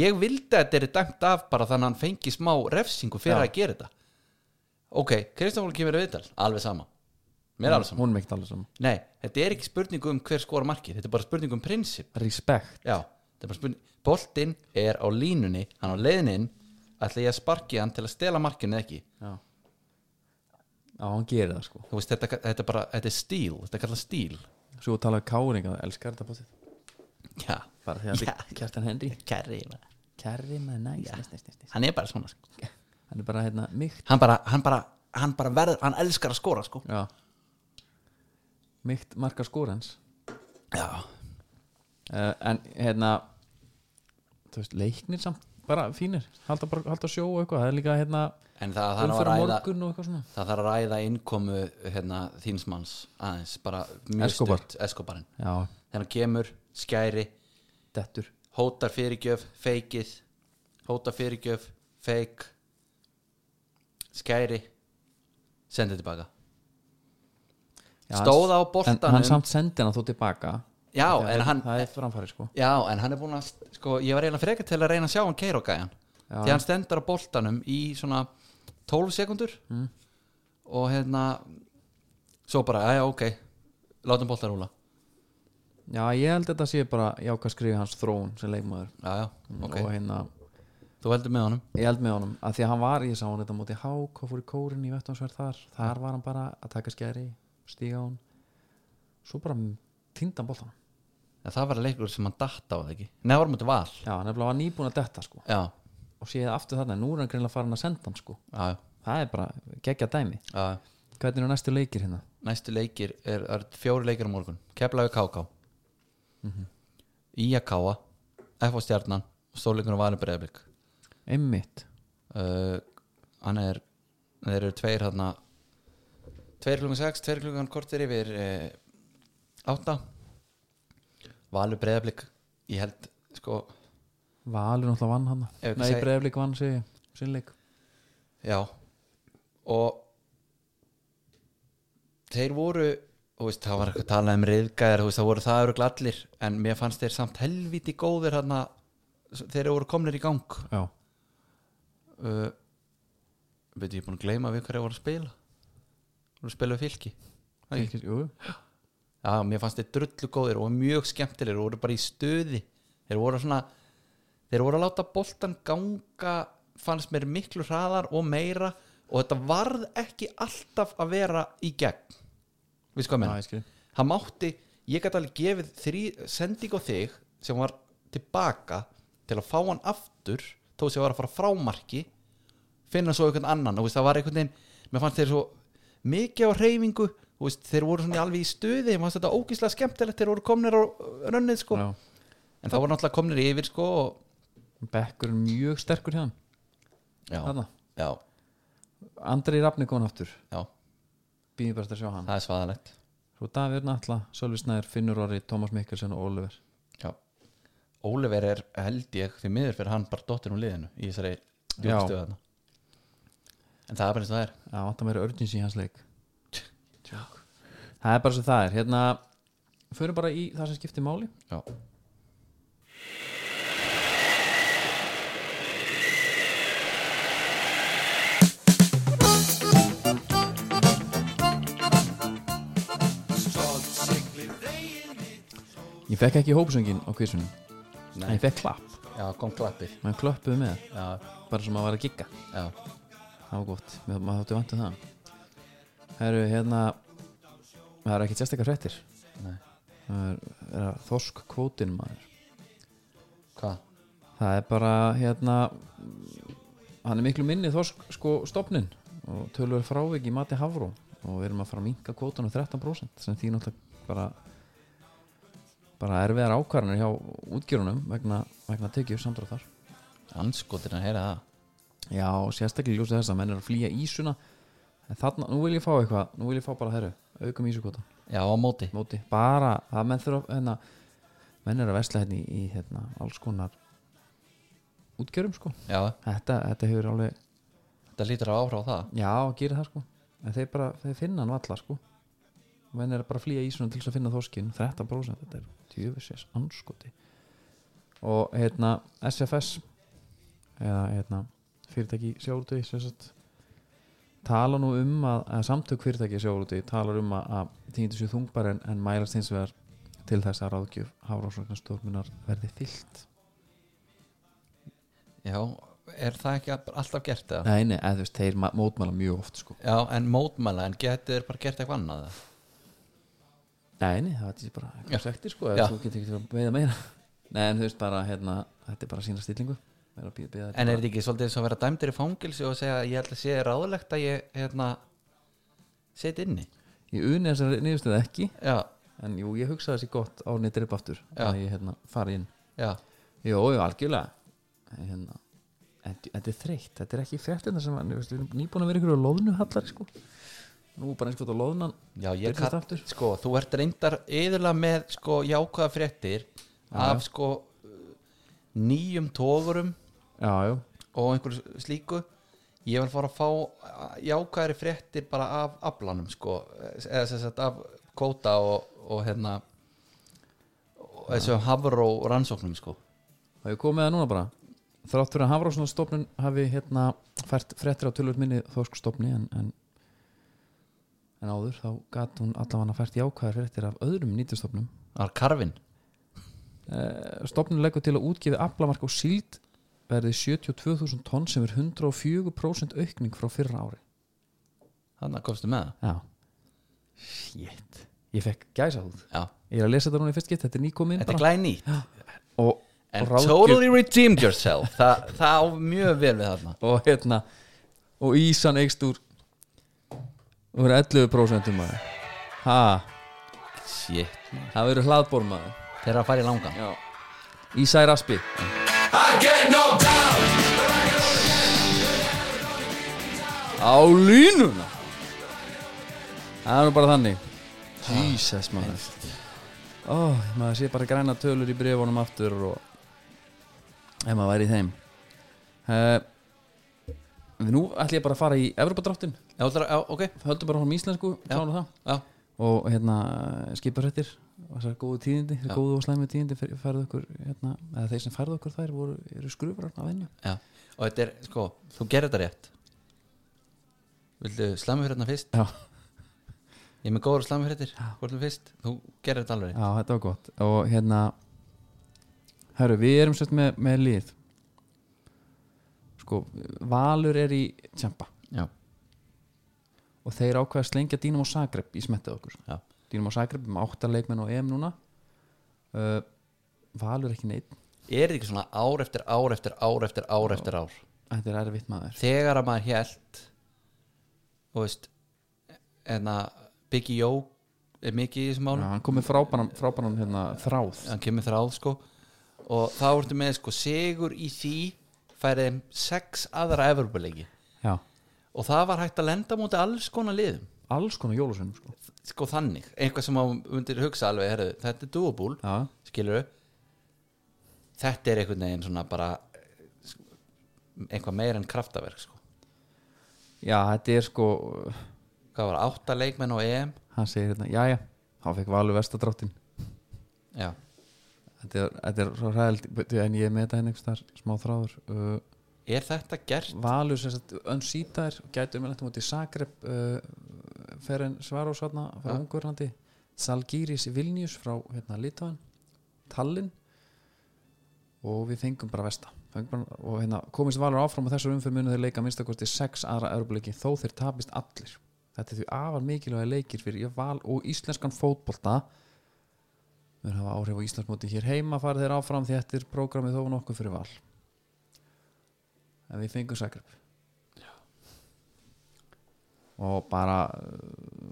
B: ég vildi að þetta er dæmt af bara þannig að hann fengi smá refsingu
A: Já.
B: fyrir að gera þetta ok, Kristján Flóki kemur í viðtal alveg sama mér er alveg sama
A: hún meikt alveg saman
B: Nei, þetta er ekki spurningu um hver skora markið Þetta er bara spurningu um prinsip
A: respekt
B: Já, þetta er bara spurningu Boltinn er á línunni, hann á leiðininn Ætla ég að sparki hann til að stela markinu eða ekki
A: já. já, hann gerir það sko
B: Þú veist, þetta, þetta er bara, þetta er stíl Þetta er kallað stíl
A: svo talaðu káringa, elskar þetta bótið
B: Já,
A: bara því að
B: Já.
A: þetta kjartan Henry
B: kærri
A: kærri með næs, næs, næs, næs, næs
B: Hann er bara svona sko.
A: hann er bara hérna myggt
B: Hann bara, hann bara, hann bara verður Hann elskar að skora, sko
A: já myggt marka skórens
B: Já,
A: uh, en hérna þú veist, leiknir samt bara fínir, halda, bara, halda sjó og eitthvað það er líka hérna
B: en það, það, það,
A: umfyrir
B: ræða,
A: morgun og eitthvað svona
B: það þarf að ræða innkomu hérna, þínsmanns aðeins bara mjög
A: Escobar.
B: stutt Eskobarinn
A: já,
B: Þegar hann kemur, skæri
A: dettur
B: hótar fyrirgjöf, feikið hótar fyrirgjöf, feik skæri sendið tilbaka
A: já,
B: stóð á
A: en
B: boltanum
A: hann samt sendi hann þó tilbaka
B: já,
A: Það
B: en
A: er-
B: hann,
A: það er framfæri sko
B: já, en hann er búin að sko, ég var eiginlega frekar til að reyna að sjá hann keira gæjan
A: Já.
B: því hann stendur á boltanum í svona 12 sekundur
A: Mm.
B: og hérna svo bara, já, ok látum boltan rúla
A: já, ég held að þetta sé bara jákvæð skrifi hans þróun sem leikmaður
B: já, já, ok,
A: og hérna,
B: þú heldur með honum
A: ég held með honum að því að hann var, ég sá hann þetta á móti hák og fór í kórin í vettvansverð þar þar var hann bara að taka skæri stíga á hann svo bara týndan boltanum
B: ja, það var leikur sem hann datt á það ekki nefnum þetta val
A: já, hann er bara nýbúin að detta sko
B: já,
A: og séð aftur þarna, nú er hann greinlega farin að senda hann sko
B: já, já,
A: það er bara geggja dæmi
B: já.
A: hvernig eru næstu leikir hérna
B: næstu leikir er, er fjóri leikir á morgun Keflavík KK mm -hmm.
A: Mhm.
B: Íakáa FH Stjarnan og stórleikunum Valur Breiðablik
A: einmitt,
B: uh, hann er þeir eru tveir hérna tveir klukkan 6, tveir klukkan kortir yfir eh, átta Valur Breiðablik ég held sko
A: Valur náttúrulega vann hann
B: Ef ekki
A: nei,
B: segi-
A: Breiflik vann sig sinnleik
B: Já og þeir voru þú veist, það var eitthvað að tala um reyðgæðar það voru það eru allir en mér fannst þeir samt helviti góðir hana, þeir voru komnir í gang
A: já,
B: uh, veit ég er búin að gleyma við hverja voru að spila voru að spila við fylki Æ,
A: ekki, jú,
B: já, mér fannst þeir drullu góðir og mjög skemmtilegir og voru bara í stöði þeir voru svona þeir voru að láta boltan ganga fannst mér miklu hraðar og meira og þetta varð ekki alltaf að vera í gegn við sko að
A: já,
B: menna
A: ég skil
B: það mátti, ég gæti alveg gefið þrý, sending á þig sem var tilbaka til að fá hann aftur þó sem var að fara frámarki finna svo einhvern annan og veist, það var einhvern veginn mér fannst þeir svo mikið á reyfingu og veist, þeir voru svona alveg í stuði mér fannst þetta ógíslega skemmtilegt þeir voru komnir á rönnið sko.
A: já.
B: en það voru náttúrulega komnir yfir sko, og,
A: Bekkur er mjög sterkur hérna
B: já,
A: Þarna.
B: já,
A: Andri Rafni komin aftur,
B: já,
A: býðum bara eftir að sjá hann
B: það er svaðalegt
A: svo Davíð Natla, Sölvi Snæður, Finnur Orri Tómas Mikkelsen og Oliver
B: já. Óliver er held ég því miður fyrir hann bara dottir úr liðinu í þessari
A: Já.
B: djúkstöðana en það er bara eins og það er
A: já, vantar meira urgency í hans leik það er bara svo það er hérna, förum bara í það sem skiptir máli
B: já.
A: ég fekk ekki hópsöngin á kvísunum en ég fekk klapp,
B: já, kom klappið
A: menn klöppuðu með
B: já,
A: bara sem að vera að gigga
B: já,
A: það var gott, Mér- maður þáttu vantu það herru, hérna það er ekki sérstakar fréttir
B: nei,
A: það er, er að þorsk kvótin maður
B: hvað?
A: það er bara, hérna mm, hann er miklu minni þorsk sko stopnin og tölur frávik í mati hafró um og við erum að fara að minka kvótan á 13% sem því náttúrulega bara bara erfiðar ákvarðanir hjá útgjörunum vegna, vegna tekjur samdráttar
B: anskotin að heyra það
A: já, sérstaklega í ljósi þess að menn er að flýja ísuna en þarna, nú vil ég fá eitthvað nú vil ég fá bara herru, aukum ísukvota
B: já, á móti
A: móti, bara að menn þurfa hérna, menn er að vesla hérna í, í hérna, alls konar útgjörum sko
B: já,
A: þetta, þetta hefur alveg,
B: þetta lítur að áhrá það
A: já, gerir það sko en þeir bara, þeir finna hann allar sko menn er að bara flýja ísunum til þess að finna þorskin 13% þetta er tjöfisins anskoti og hérna SFS eða hérna fyrirtæki sjáurúti sérstætt tala nú um að, að samtök fyrirtæki sjáurúti talar um að, að týndu sér þungbar en, en mælast hins vegar til þess að ráðgjöf hafrásvögnarstofnunar verði fyllt
B: já, er það ekki að- alltaf gert það?
A: Nei, nei, eða þú veist, þeir ma- mótmæla mjög oft sko
B: já, en mótmæla, en getið er bara gert eitthvað annað eða?
A: Nei, nei, það var þetta bara
B: Já.
A: eitthvað sektir sko, ef
B: Já.
A: þú getur ekki til að veiða meira Nei, en þú veist bara, hérna, þetta er bara sína stillingu Meira að bíða, bíða,
B: en er þetta ekki svolítið eins og að vera dæmdur í fangilsi og segja ég ætla að sé ráðlegt að ég hérna, set inni
A: Ég uni þessar niðurstöð ekki
B: já,
A: En jú, ég hugsaði þessi gott á neitt dreip aftur
B: Já.
A: Að ég, hérna, fari inn
B: já,
A: Jó, jú, algjörlega En, hérna, en þetta er þreytt, þetta er ekki fréttina sem að, þú veist, við erum nýbúin að vera ykkur á loðnu hallar, sko Nú bara eins og þetta loðnan
B: já ég
A: Byrjast
B: kann,
A: aftur.
B: sko, þú ert reyndar yðurlega með sko jákvæða fréttir af sko nýjum tógurum
A: Já, jú,
B: og einhverju slíku ég vil fara að fá jákvæðari fréttir bara af aflanum sko, eða sem sagt af kvóta og, og hérna og þessu hafró rannsóknum sko
A: og ég kom með það núna bara þrátt fyrir að Hafrásnarstofnun hafi hérna fært frettir á tölvöld minni þorskstofni en, en, en áður þá gat hún allavega fært jákvæðar frettir af öðrum nýtustofnum
B: það er karfin
A: Eh, stofnun leggur til að útgefi aflamark á síld verði 72.000 tonn sem er 104% aukning frá fyrra ári
B: þannig að komstu með það
A: Já Shit Ég fekk gæsa út
B: Já.
A: Ég er að lesa þetta núna í fyrst gitt, þetta er nýkomin
B: þetta er glæni
A: og,
B: and
A: ráðgjöf-
B: totally redeemed yourself Þa, það á mjög vel við þarna
A: og hérna og Ísan eikst úr úr 11% maður ha,
B: shit, man.
A: það verður hlaðbór maður
B: þeir eru að fara í langan
A: já Ísa er aspi á línuna það er nú bara þannig Jesus maður ó, maður sé bara græna tölur í brefunum aftur og ef maður væri í þeim uh, nú ætlum ég bara að fara í Evropadráttin
B: já, ætlar- já, ok,
A: höldum bara honum íslensku klárum það.
B: já,
A: og hérna skiparhættir þessar góðu tíðindi, þessar
B: Já.
A: góðu og slæmi tíðindi fer- færðu okkur, hérna, eða þeir sem færðu okkur þær voru, eru skrufrar af hennu
B: já og þetta er, sko, þú gerir þetta rétt vildu slæmi fyrir þarna fyrst
A: já.
B: Ég er með góður slamfréttir Hvort er fyrst? Þú gerir þetta alveg
A: já, þetta var gott og hérna herru, við erum sérst með, með lið sko, Valur er í Tjampa
B: Já,
A: og þeir ákveða að slengja Dínum og Sagreb í smettið okkur
B: já,
A: Dínum og Sagreb um áttarleikmenn og EM núna uh, Valur ekki neitt
B: Er þetta ekki svona ár eftir ár eftir ár eftir ár eftir ár
A: þetta er erfitt maður
B: Þegar að maður hélt Þú veist En að Biggie Jó Er mikið í
A: Já,
B: þessum málum
A: hann kom með frábæran, frábæran hérna, þráð
B: Hann kemur þráð sko Og þá ertu með sko Sigur í því Færið þeim sex aðra Evropalegi
A: Já.
B: Og það var hægt að lenda múti alls konar liðum
A: alls konar jólusveinum sko.
B: Sko þannig Eitthvað sem maður undir hugsa alveg heru, Þetta er doable
A: Já,
B: skilur þetta er einhvern veginn svona bara eh, eitthvað meira en kraftaverk sko.
A: já, þetta er sko
B: hvað var átta leikmenn og EM
A: hann segir hérna, já, já, hann fekk valur vestadráttin
B: já,
A: þetta er, þetta er svo ræðild Bíddu, en ég er með þetta henni einhvers þar, smá þráður uh,
B: er þetta gert
A: valur sem sagt, önsýtaðir gætu um ennættum út í Sakrep uh, fer en Svarós hérna frá
B: Já.
A: Ungurlandi, Salgíris Vilnius frá hérna Litáin Tallinn og við fengum bara Vesta Fengum bara, og hérna, komist Valur áfram og þessar umfyrir munu þeir leika minnstakosti sex aðra erupleiki þó þeir tapist allir þetta er því afar mikilvæga leikir fyrir Val og íslenskan fótbolta við hafa áhrif á Íslandsmóti hér heima farið þeir áfram því þetta er prógramið þó nokkuð fyrir Val en við fengum Sakrep og bara uh,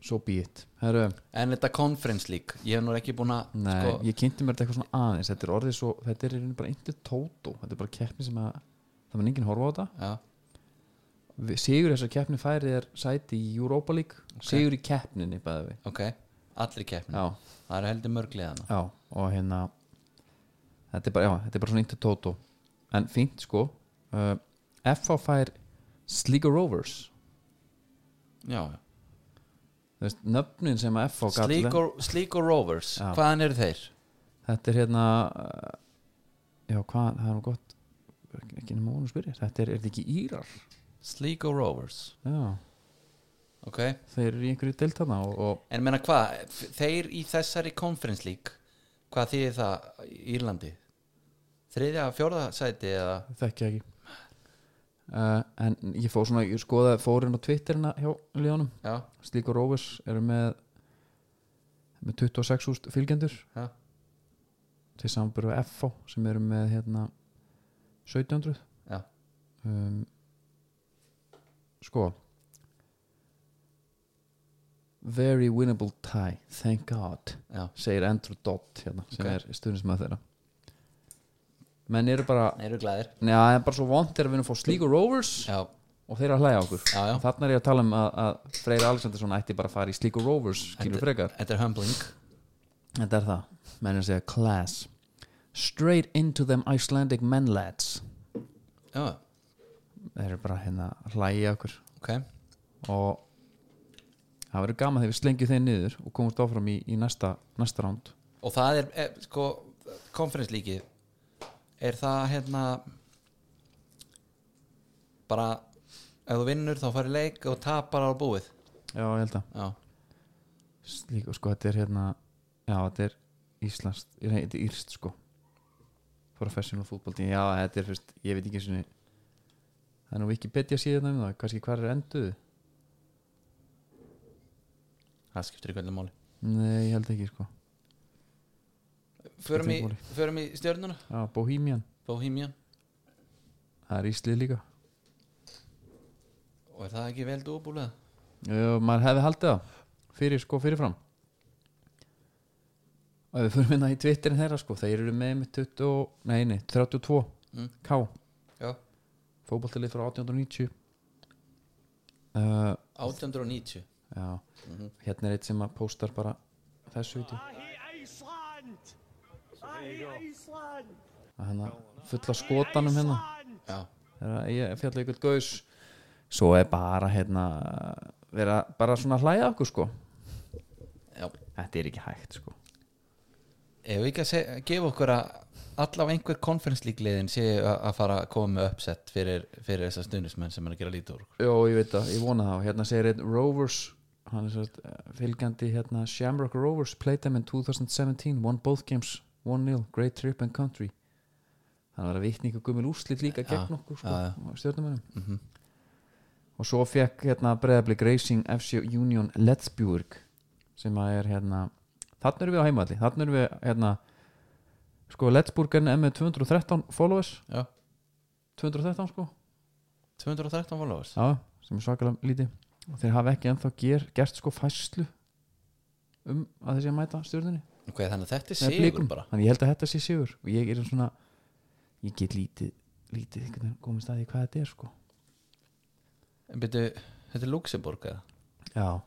A: so be it Heru,
B: En þetta conference lík, ég hef nú ekki búin að
A: nei,
B: sko,
A: ég kynnti mér þetta eitthvað svona aðeins þetta er orðið svo, þetta er í rauninni bara eitthvað tótó þetta er bara keppni sem að það var enginn horfa á þetta
B: já,
A: Við- sigur þessar keppni færið er sæti í Europa League sigur í keppninni bæði við
B: ok, allri keppni
A: já,
B: Það eru heldur mörgliðana
A: já, og hérna þetta er bara, já, þetta er bara svona eitthvað tótó en fínt sko uh, FH fær Sligo Rovers
B: Já,
A: Þú veist, nöfnin sem að FH gat-
B: Slíko Rovers,
A: Já.
B: hvaðan eru þeir?
A: þetta er hérna uh, já hvað, það er nú gott ekki- ekki nema hún spyrir, þetta er, er þetta ekki Írar
B: Slíko Rovers,
A: já,
B: ok
A: þeir eru í einhverju deltana og, og
B: En menna hvað, f- þeir í þessari conference lík Hvað þýðir það í Írlandi? Þriðja, fjórða sæti eða
A: þekki ekki uh, en ég fór svona, ég skoða fórin á Twitterina hjá Leonum
B: Já,
A: Slíkur Rovers eru með með 26.000 fylgjendur
B: já,
A: til samanbyrðu FH sem eru með hérna 1700
B: já,
A: um, sko very winnable tie thank god
B: já
A: segir Andrew Dodd hérna sem
B: Ok.
A: er stuðnismæð þeirra menn eru bara
B: Eru glæðir
A: neða það er bara svo vond þegar við erum að fá Sligo Rovers
B: Já,
A: og þeir eru að hlæja okkur
B: Já, já.
A: þarna er ég að tala um að, að Freyra Alexandersson ætti bara að fara í Sligo Rovers skilur frekar
B: þetta er humbling
A: þetta er það menn er að segja class straight into them Icelandic men lads
B: Já,
A: þeir eru bara hérna að hlæja okkur
B: ok,
A: og það verður gaman þegar við slengjum þeir niður og komumst áfram í, í næsta, næsta ránd
B: og það er e, sko, conference líki er það hérna bara ef þú vinnur þá farið leik og tapar á búið
A: já, ég held að
B: já,
A: Slík, og sko, þetta er hérna já, þetta er íslast nei, þetta er írst, sko professional football team, já, þetta er fyrst ég veit ekki svona það er nú Wikipedia síðan um það, kannski hvar er enduð
B: það skiptir ekki öllu máli
A: nei, ég held ekki, sko
B: förum í,
A: Skiptir engu
B: förum í stjörnuna
A: já, Bohemian,
B: Bohemian
A: það er íslið líka
B: og er það ekki vel dúbúlega
A: já, maður hefði haldið það fyrir, sko, fyrirfram og ef við fyrir minna í Twitterin þeirra, sko, þeir eru með með 20, og- nei, nei, 32
B: Mm.
A: K,
B: já,
A: fótboltalið frá 1890 uh,
B: 890
A: Já, hérna er eitt sem að póstar bara þessu úti
D: Iceland! Iceland!
A: að hérna fulla skotanum hérna
B: já,
A: þegar ég fjalla ykkur gaus svo er bara hérna vera bara svona að hlæja okkur sko
B: já
A: þetta er ekki hægt sko
B: ef við ekki að seg, gefa okkur að allavega einhver conference lík liðin séu að að fara að koma með uppsett fyrir, fyrir þessar stundismenn sem er að gera lítið úr okkur.
A: Jó, ég veit það, ég vona það hérna segir einn Rovers hann er sérst fylgjandi hérna Shamrock Rovers played them in 2017 won both games 1-0 great trip and country hann var að vitni ykkur gummul úrslit líka gegn
B: Já,
A: okkur sko,
B: já,
A: stjórnumennum
B: Mhm.
A: og svo fekk hérna Breiðablik Racing FC Union Lettsbjörg sem að er hérna þannig erum við á heimalli, þannig erum við hérna sko Lettsbjörg er með 213 followers,
B: já,
A: 213 sko
B: 213 followers
A: Já, sem er svakalega lítið og þeir hafa ekki ennþá ger, gert sko fæslu um að þessi að mæta stjórnunni
B: ok, þannig að þetta er
A: Nei,
B: sigur
A: Blikum.
B: bara
A: Þannig ég held að þetta sé sigur og ég er svona ég get lítið, lítið einhvern veginn komið staði hvað þetta er sko
B: En byrju, þetta er Luxemburg eða
A: Já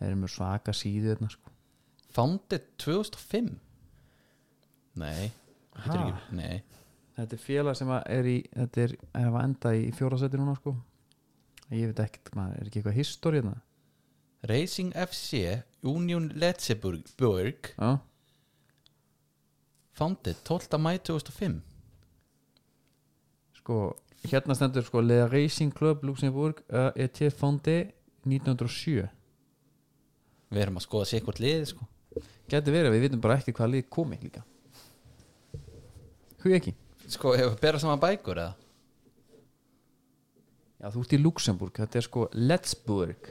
A: Þeir eru mjög svaka síðu þarna sko
B: Founded 2005 Nei þetta er
A: Ha?
B: ekki, Nei,
A: Þetta er félag sem að er í þetta er ef að enda í fjórasæti núna sko Ég veit ekkert, maður er ekki eitthvað históri hérna
B: Racing FC Union Letzeburg Burg,
A: Já,
B: Founded 12. mæ 2005
A: sko Hérna stendur sko Le Racing Club Luxemburg uh, ET Fondi 1907
B: Við erum að skoða sér hvort liðið sko
A: Gæti verið að við vitum bara ekki hvað lið komi líka Hví ekki?
B: Sko, hefur að bera saman bækur eða
A: Já, þú ert í Luxemburg, þetta er sko Lettsburg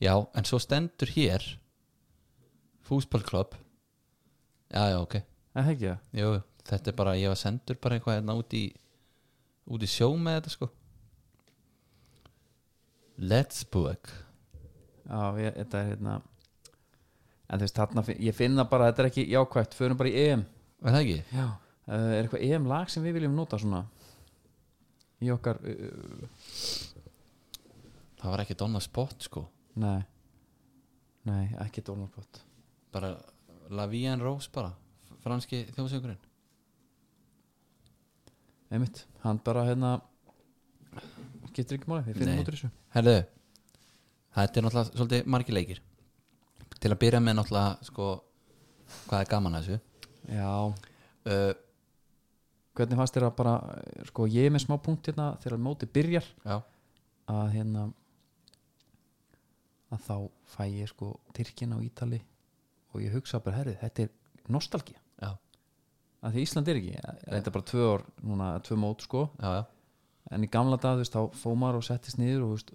B: Já, en svo stendur hér Fúsballklubb Já, já, ok
A: Er það ekki það?
B: Jú, jú, þetta er bara, ég var sendur bara eitthvað hérna út í út í sjó með þetta sko Let's book
A: Já, ég, þetta er hérna En þú veist, þarna, finn- ég finna bara, þetta er ekki jákvætt Förum bara í EM
B: Er það ekki?
A: Já, Eh, er eitthvað EM lag sem við viljum nota svona Í okkar uh,
B: Það var ekki Donna Spot sko
A: Nei Nei, ekki Dónabrott
B: bara La Vie en Rose bara franski þjóðsöngurinn
A: Einmitt, hann bara hérna Getur ekki máli, við
B: Nei.
A: finnum út úr þessu
B: Herðu, þetta er náttúrulega svolítið margir leikir til að byrja með náttúrulega sko hvað er gaman að þessu
A: Já,
B: uh,
A: hvernig fannst þér að bara eh, Sko, ég er með smá punkt hérna Þegar mótið byrjar
B: Já,
A: að hérna að þá fæ ég sko Tyrkin á Ítali og ég hugsa bara herrið, þetta er nostalgía
B: já,
A: að því Ísland er ekki, reynda bara tvö ár núna, tvö mót sko,
B: já, já,
A: en í gamla dag þú veist, þá fóð maður og settist niður og þú veist,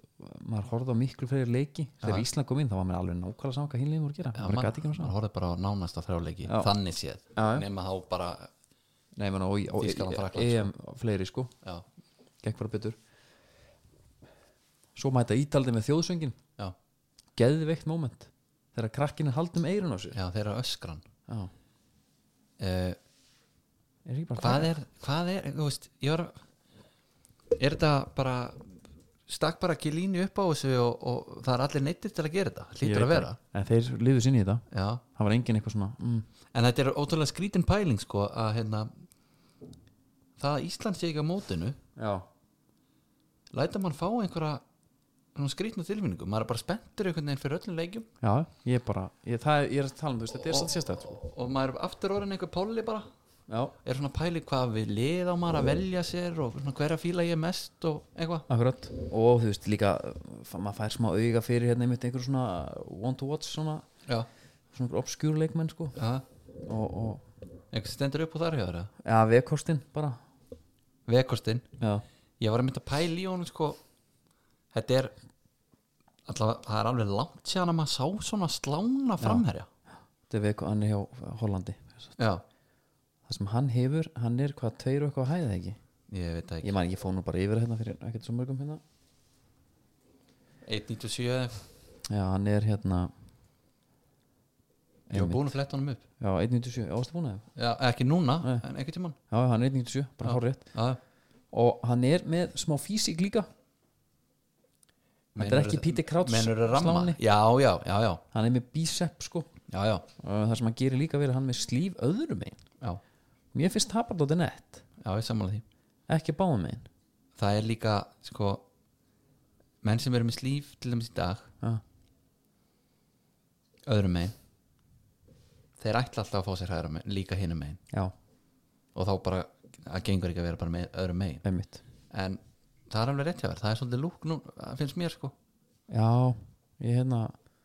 A: maður horfði á miklu fyrir leiki þegar
B: Já.
A: Ísland kom inn, þá var mér alveg nákvæmlega saman hvað hinlegin voru að gera,
B: já
A: bara gæti ekki
B: maður
A: hann saman
B: horfði bara á nánasta þrjáleiki
A: Já.
B: þannig séð,
A: Já, já.
B: nema þá bara
A: Nei, menn, og, og,
B: Þýskaland,
A: og
B: Frakkland,
A: EM fleiri sko,
B: já,
A: gekk bara betur svo mæta Ítaldi með þjóðsöngin
B: já,
A: geðveikt moment, þegar krakkinn er haldum eirun á sér
B: já, þeirra öskran
A: Já.
B: uh,
A: Er ekki bara
B: hvað er, hvað er, þú veist ég var, er þetta bara stakk bara ekki línu upp á þessu og, og það er allir neittir til að gera þetta
A: Ég veit
B: hlýtur að vera,
A: það. en þeir liðu sinni í þetta
B: já
A: það var engin eitthvað svona mm,
B: en þetta er ótrúlega skrítin pæling sko að hérna það að Ísland sé ekki á mótinu
A: já,
B: læta mann fá einhverja svona skrítna tilfinningu, maður er bara spenntur einhvern veginn fyrir öllum leikjum
A: ég er bara ég, það, er- ég er að tala um þú veist, þetta er satt sérstætt sko.
B: og maður er aftur orðin einhver polli bara
A: já,
B: er svona pæli hvað við lið á maður að velja sér og svona hverja fíla ég mest og eitthvað
A: akkurat og þú veist líka, f- maður fær smá auga fyrir hérna einmitt einhver svona want to watch svona,
B: já,
A: svona obskjúr leikmenn sko
B: já,
A: og, og
B: einhver stendur upp og þar hjá þeirra
A: já, vekostinn bara
B: vekostinn,
A: já,
B: ég var að mynda pæli í honum sko þetta er allavega, það er alveg langt séðan að maður sá svona slána framherja
A: þetta er veko, hann er hjá Hollandi
B: já,
A: það sem hann hefur, hann er hvað tveir og eitthvað hæðið ekki
B: ég veit það ekki
A: ég man, ég fóð nú bara yfir hérna fyrir ekkert svo mörgum hérna
B: 1.97 eða eitthvað.
A: já, hann er hérna
B: ég var búin að fletta honum upp
A: já, 1.97, ástu búin að það
B: já, ekki núna, en einhvern tímann
A: Já, hann er 1.97, bara hár rétt
B: já,
A: Og hann er með smá físík líka Þetta er
B: Meinarðu-
A: ekki Peter Crouch
B: meinarðu ramma?
A: sláni.
B: já, já, já, já,
A: Hann er með bicep sko
B: já, já,
A: Og það sem hann gerir líka verið hann er með slíf öðrum megin
B: já,
A: Mér finnst tapardóti nett
B: já, ég samanlega því
A: Ekki báðum megin
B: það er líka, sko menn sem eru með slíf til dæmis í dag
A: Já,
B: öðrum megin þeir ætla alltaf að fá sér hægra megin, líka hinum megin
A: já
B: og þá bara, það gengur ekki að vera bara með öðrum megin
A: einmitt
B: en það er alveg rétt hjá þér, það er svolítið lúk nú, það finnst mér sko,
A: Já, ég hérna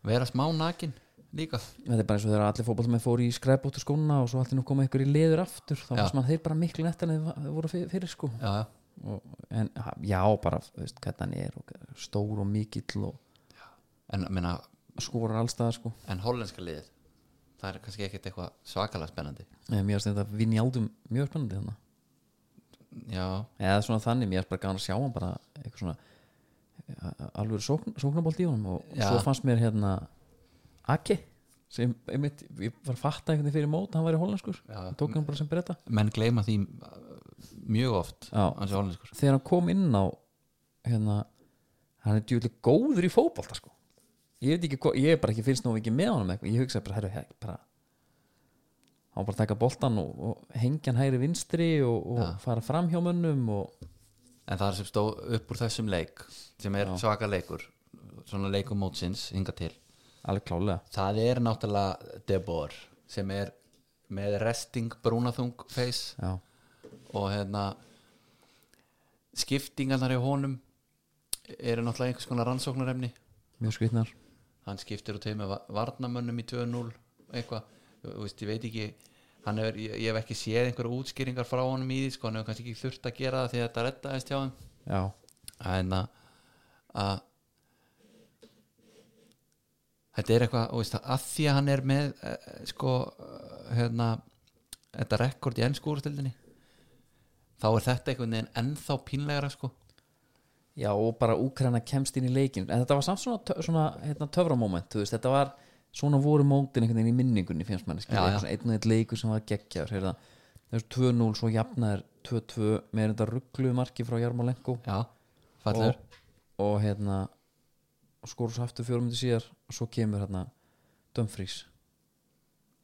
B: vera smá nakin líka,
A: Þetta er bara eins og þegar allir fótballmenn fóru í skræbóttu skóna og svo allir nú koma ykkur í leður aftur þá
B: Já.
A: fannst mann þeir bara miklu nettan en þeir voru fyrir, fyrir sko
B: já, já
A: og, En já, bara, þú veist, hvernig hann er og, stór og mikill og
B: en, minna,
A: skorar allstaðar sko
B: en hollenska liðið það er kannski ekkert eitthvað svakalega spennandi
A: Nei, mér finnst þetta vinjaldum mjög spennandi þannig
B: já,
A: eða svona þannig, mér finnst bara gaman að sjá hann bara eitthvað svona alveg sókn, sóknabólt í honum og
B: Já.
A: svo fannst mér hérna Aki sem einmitt, ég var að fatta einhvern veginn fyrir mót hann var í hollenskur,
B: Já.
A: tók hann bara sem breyta
B: menn gleyma því uh, mjög oft
A: Já.
B: hans hollenskur
A: þegar hann kom inn á hérna, hann er djúlega góður í fótbolta sko ég veit ekki hvað, ég er bara ekki finnst nú ekki með honum eitthvað, ég hugsaði bara, herru, hér, bara hann var bara að taka boltan og, og hengja hann hægri vinstri og, og fara fram hjá mönnum og
B: en það er sem stóð upp úr þessum leik sem er svaka leikur svona leikum mótsins hinga til
A: alveg klálega
B: það er náttúrulega Debor sem er með resting brúnaþung face
A: já,
B: og hérna skiptingarnar í honum eru náttúrulega einhvers konar rannsóknaremni
A: mjög skvitnar
B: hann skiptir og tegir með va- varnamönnum í 2-0 eitthvað, þú veist, ég veit ekki hann hefur, ég, ég hef ekki séð einhverja útskýringar frá honum í því, sko, hann hefur kannski ekki þurft að gera það því að þetta reddaðist hjá hann
A: já,
B: en að hérna, að- þetta er eitthvað, þú veist, að því að hann er með, eh, sko eh, hérna, þetta rekord í ennskúrstildinni þá er þetta einhvern veginn ennþá pínlegra, sko
A: Já og bara Úkraina kemst inn í leikin En þetta var samt svona, tö- svona hérna, töframóment Þú veist, þetta var svona voru mótin einhvern veginn í minningunni finnst manni skilur.
B: Já, já.
A: Svona Einn og einn leikur sem var geggjaður heyrða. Þessu 2-0 svo jafnaður 2-2 með þetta ruggluðu marki frá Jarmolenko
B: já, fallur
A: og hérna og skor svo aftur fjórum myndi síðar og svo kemur hérna Dumfries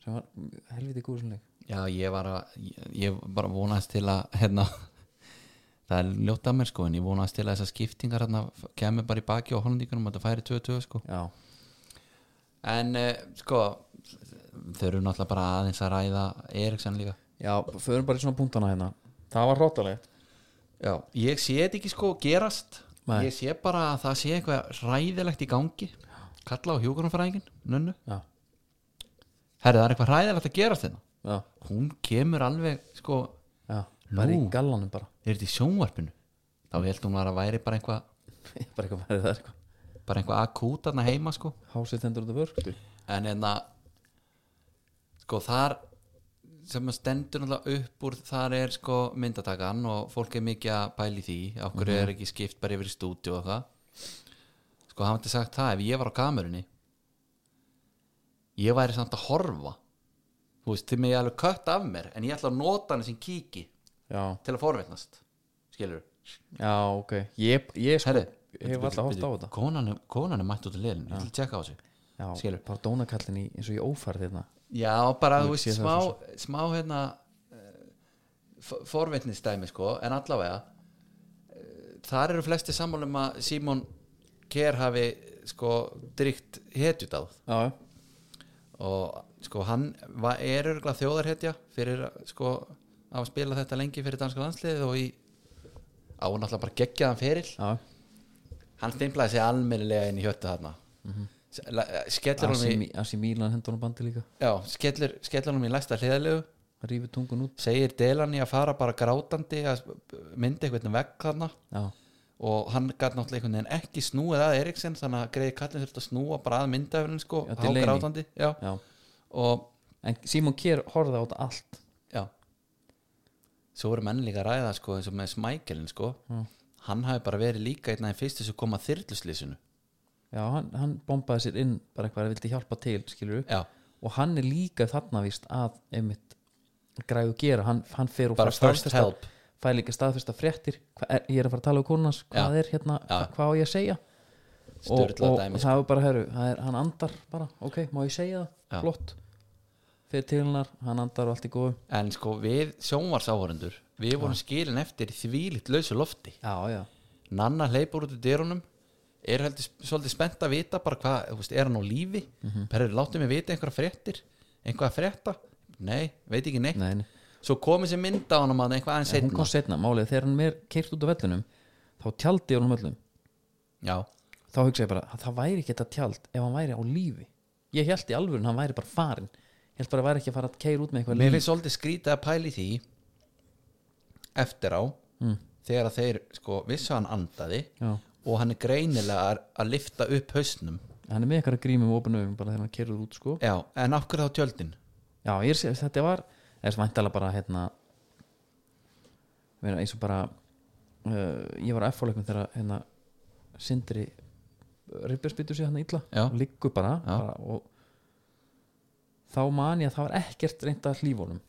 A: sem var helviti góður sem leik
B: já, ég var að ég, ég bara vonast til að hérna það er ljótt að mér sko en ég vonast til að þessar skiptingar hérna f- kemur bara í baki á holendingunum og þetta færi 22 sko
A: Já,
B: en uh, sko þau eru náttúrulega bara aðeins að ræða Eriksson líka
A: já, förum bara í svona punktana hérna Það var hróttalegt
B: Já, ég sé þetta ekki sko gerast
A: Nei.
B: ég sé bara að það sé eitthvað ræðilegt í gangi kalla á hjúkurumfræðingin, nönnu
A: Já,
B: herri það er eitthvað ræðilegt að gerast þetta
A: já,
B: hún kemur alveg sko
A: já Bara í
B: Nú.
A: gallanum bara
B: er þetta í sjónvarpinu þá ég held hún var að væri bara eitthvað sko.
A: bara eitthvað verið það er eitthvað
B: bara eitthvað akút þarna heima sko
A: hásið stendur út af vörktu
B: en en sko þar sem að stendur náttúrulega upp úr þar er sko myndatakan og fólk er mikið að pæli því okkur
A: Mhm.
B: er ekki skipt bara yfir í stúdíu og það sko hann hefði sagt það ef ég var á kamerunni ég væri samt að horfa þú veist, þið með ég alveg kött af mér en ég ætla að nota hann sem kíki
A: já,
B: til að forveitnast skilur
A: já, ok ég, ég sko,
B: Herri,
A: ég hef alltaf hótt á þetta
B: konan, er- konan er mætt út af liðinu, ég ætla að tjekka á þessu
A: já,
B: Skilur.
A: bara dónakallin í eins og ég ófærð hérna
B: Já, bara
A: Ég
B: þú veist
A: sé það
B: smá,
A: svo
B: smá hérna uh, forvitnistæmi sko, en allavega uh, þar eru flesti sammálum að Simon Kerr hafi sko drygt hetjut á
A: já,
B: og sko hann va- er örgulega þjóðarhetja fyrir sko að spila þetta lengi fyrir danska landsliðið og í á hann alltaf bara geggjaðan feril
A: já,
B: hann stimplaði sig almennilega inn í hjöttu þarna mm
A: Mhm.
B: -hmm. skellir
A: Asi,
B: honum í
A: Mi- Asi Mílan hendur hún á bandi líka
B: já, skellir, skellir honum í læsta hliðalegu
A: rífið tungun út
B: segir Delani að fara bara grátandi að myndi einhvern vegg þarna
A: já,
B: og hann gæti náttúrulega einhvern veginn ekki snúið að Eriksen þannig að greiði kallin þurft að snúa bara að myndafurinn sko,
A: Já,
B: há
A: Delaney.
B: grátandi já.
A: já
B: og
A: en Simon Kjær horfði á þetta allt
B: já svo voru menn líka að ræða sko eins og með Smækelin sko hann hafi bara verið líka einn af þeim fyrstu sem kom að þyrluslýsinu
A: já, hann, hann bombaði sér inn bara eitthvað að vildi hjálpa til, skilur
B: já,
A: og hann er líka þarna vist að einmitt græðu gera, hann, hann fer og
B: Bara
A: fær
B: first
A: staðfesta-
B: help.
A: fær líka staðfesta fréttir Hva, er, ég er að fara að tala um konans, hvað
B: Já.
A: er hérna
B: Já.
A: hva- hvað á ég að segja og,
B: Sturlað
A: og,
B: dæmi, sko.
A: og það er bara, heru, það er, hann andar bara, ok, má ég segja það,
B: Já.
A: flott fyrir til hennar, hann andar og allt í góðu
B: en sko við sjónvarsáhörundur við vorum skilin eftir í þvílitt lausu lofti
A: já, já,
B: Nanna hleypur út úr dyrunum er heldur svolítið spennt að vita bara hvað, þú veist, er hann á lífi mm
A: Mhm.
B: -hmm. perður, láttu mig vita einhverja fréttir einhverja frétta, nei, veit ekki neitt
A: nei, nei.
B: svo komið sér mynd á hann um að eitthvað aðeins
A: hún
B: seinna
A: kom setna, málið, þegar hann mér keirt út á vellunum þá tjaldi ég á hann vellum
B: já,
A: þá hugsa ég bara að það væri ekki þetta tjald ef hann væri á lífi ég held í alvöru en hann væri bara farin ég held bara að væri ekki að fara að keira út með eitthvað
B: mér finnst svolítið skrítið að pæli því eftir á
A: Mm.
B: þegar að þeir, sko, vissu að hann andaði
A: Já.
B: og hann er greinilega að, að lifta upp hausnum
A: hann er með eitthvað grímum og opinum bara þegar hann kerur út sko
B: já, en af hverju þá tjöldin
A: já, ég sé, þetta var þess væntalega bara hérna vera eins og bara uh, ég var á F-fóleikum þegar hérna sindri ribbjörnsbyttur sér hann illa
B: Já.
A: liggur bara,
B: Já.
A: bara og þá man ég að það var ekkert reynd að hlífónum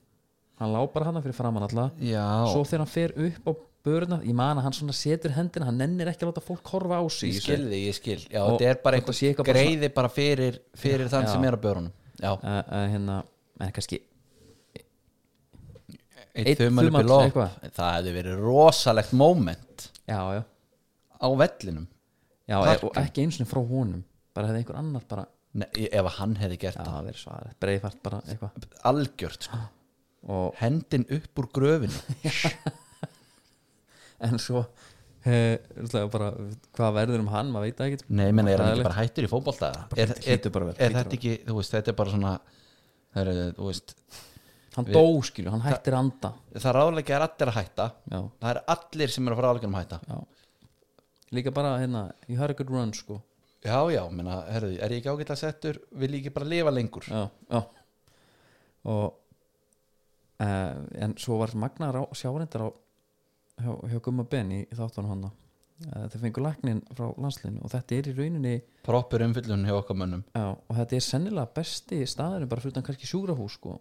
A: hann lá bara hann fyrir framann alla
B: já,
A: svo þegar hann fer upp á böruna ég man að hann svona setur hendina hann nennir ekki að láta fólk horfa á sig sko.
B: ég skil því, ég skil já,
A: Og-
B: þetta er bara
A: og þetta sé
B: einhver
A: eitthvað bara
B: greiði bara fyrir, fyrir þann
A: Já.
B: sem er á börunum já,
A: uh, uh, hérna, en kannski
B: eitt
A: Einn
B: þummal upp í
A: þumall,
B: lopp
A: eitthvað.
B: það hefði verið rosalegt moment
A: já, já,
B: á vellinum
A: já
B: Parkan.
A: og ekki eins og frá honum bara hefði einhver annar bara
B: Nei, ef að hann hefði gert
A: já, það verið svarið, breyfart bara eitthvað
B: það algjört, sko.
A: og,
B: hendin upp úr gröfinu
A: en svo eh, náttúrulega bara, hvað verður um hann maður veit það ekkert
B: nei, menn er hann
A: Hræðilegt.
B: ekki bara hættur í fótbolta er, er,
A: hlýtur bara að
B: er,
A: vera, hlýtur
B: þetta ekki, þú veist, þetta er bara svona það, er, þú veist,
A: hann dó skilju, hann hættir að anda
B: það ráðleika er allir að hætta
A: já,
B: það er allir sem eru að fara ráðleikanum að hætta
A: já líka bara hérna, you had a good run sko
B: já, já, menna, herðu, er ég ekki ágætla settur vil ég ekki bara lifa lengur
A: já, já. og eh, uh, en svo var magnar á sjárendar á hjá, hjá Gumma Ben í, í þáttunum hann Eh, þeir fengu lagnin frá landslinu og þetta er í rauninni
B: proppur umfyllun hjá okkar mönnum
A: já, og þetta er sennilega besti staðurinn bara fyrir utan kannski sjúkrahús sko,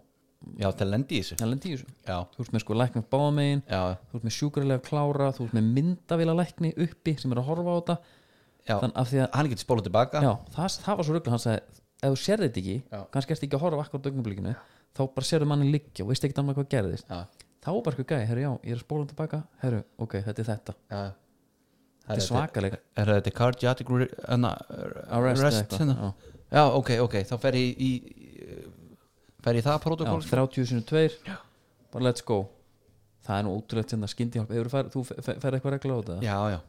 B: já, það lendi í þessu
A: en lendi í þessu
B: já,
A: þú ert með sko læknir báðamegin
B: já,
A: þú ert með sjúkralega klára, þú ert með myndavila lækni uppi sem er að horfa á þetta
B: já.
A: þannig af því að,
B: hann getur spólað tilbaka
A: já, það, það var svo ruggla hann sagði, ef þú sér þetta ekki
B: Já.
A: kannski ertu ekki að horfa akkur á dögnublikinu þá bara sérðu manni liggja og veist ekki annað hvað gerðist
B: já,
A: þá var bara eitthvað gæði, herru já, ég er að spóla tilbaka herru, ok, þetta er þetta,
B: já.
A: þetta er svakalega
B: er þetta cardiatic re- hana,
A: Arrest
B: arrest,
A: eða
B: arrest
A: eitthvað,
B: hérna?
A: já.
B: já, ok, ok, þá fer ég í í- fer ég það sko?
A: já,
B: protokól
A: 30 sinni 2 bara let's go það er nú ótrúlegt hérna skyndihálp Hefurðu farið- þú fer eitthvað regla á þetta
B: já, já,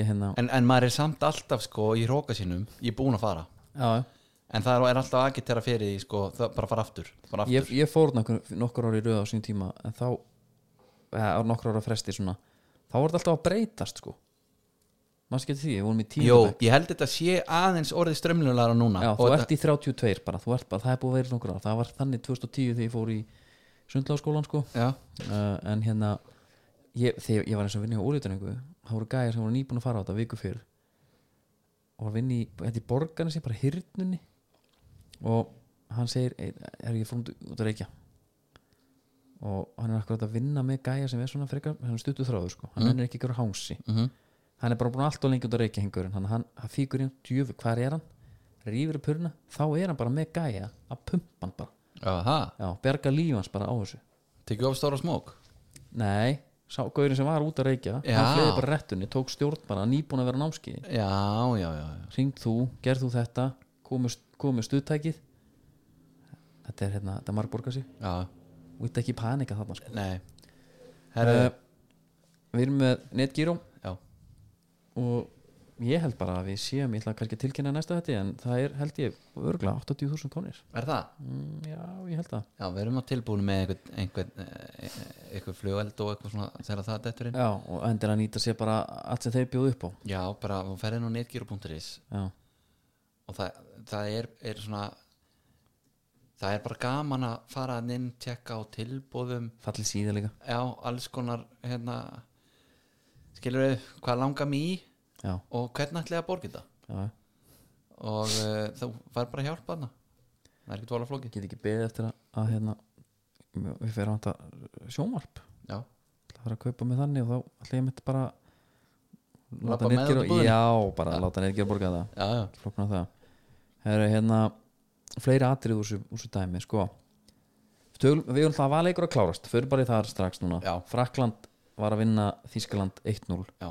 A: ég hérna
B: en, en maður er samt alltaf sko í róka sínum, ég er búin að fara
A: já,
B: en það er alltaf agitera fyrir því sko, það bara fara aftur, fara aftur.
A: ég, ég fór nokkur, nokkur ári í röða á sín tíma en þá eða, á nokkur ára fresti svona þá var þetta alltaf að breytast sko maður skemmt því, við vorum í tíma
B: Jó, ég held þetta sé aðeins orðið strömlulega núna
A: já,
B: Og
A: þú
B: þetta-
A: ert í 32 bara, þú ert bara, það er búið að vera í nokkur ára það var þannig 2010 þegar ég fór í sundláskólan sko
B: já,
A: uh, en hérna ég, þegar ég var eins og að vinna hjá úrlítaningu þá voru gæjar sem voru nýbúin að fara á þetta viku fyrr og var að vinna í, hérna í borgarni bara hirtnunni og hann segir "Ey, er ég fórum út að reykja og hann er akkurat að vinna með gæjar sem er svona frekar, hann er stuttu þráður sko hann er ekki að gera hangsi
B: Mhm.
A: hann er bara búin alltaf lengi út að reykja hengurinn hann, hann, hann fíkur inn, djöfu, hvar er hann rífur upp hurna, þá er hann bara með gæja að pumpa hann bara,
B: já, það,
A: já, berga líf hans bara á þessu
B: tekið of stóra smók
A: Nei, sá gaurin sem var út að reykja
B: Já.
A: hann fleði bara rettunni, tók stjórn bara nýbúin að vera á námskeiði
B: Já, já, já, já.
A: Ringd þú, gerð þú þetta komið stuðtækið Þetta er hérna, þetta margborga sig
B: já,
A: og þetta ekki panika þarna sko.
B: nei Herru,
A: Eh, Við erum með netgíró
B: já,
A: og ég held bara að við séum ég ætla kannski að tilkynna næsta þetta en það er held ég örgla 80.000 krónir
B: er það?
A: mm, Já, ég held það
B: Já, við erum að tilbúinu með einhvern einhvern, eh, einhvern flugeld og eitthvað svona þegar það dettur inn
A: Já, og endur að nýta sér bara allt sem þeir bjóðu upp á
B: Já, bara, þú ferði nú netgíru.is
A: Já,
B: og það, það er, er svona það er bara gaman að fara þarna inn, tjekka á tilbúðum
A: fallið síða líka
B: já, alls konar hérna skilur við, hvað langar mig í
A: Já,
B: og hvernig ætla ég að borga þetta
A: já,
B: og uh, þú fær bara hjálpa hana það er ekki tvolega flókið
A: get ekki beðið eftir að, að hérna, við fyrir að handa sjónvarp
B: já,
A: það var að kaupa með þannig og þá ætla ég mitt bara
B: Labba með
A: netgera-
B: út í búðina?
A: já, bara láta neitt gera borga það
B: já, já,
A: flokkna það Heru, hérna, fleiri atrið úr þessu- úr þessu dæmi sko Tölum, við erum það að valeikur að klárast fyrir bara í þar strax núna
B: Já.
A: Frakland var að vinna Þískaland 1-0
B: já,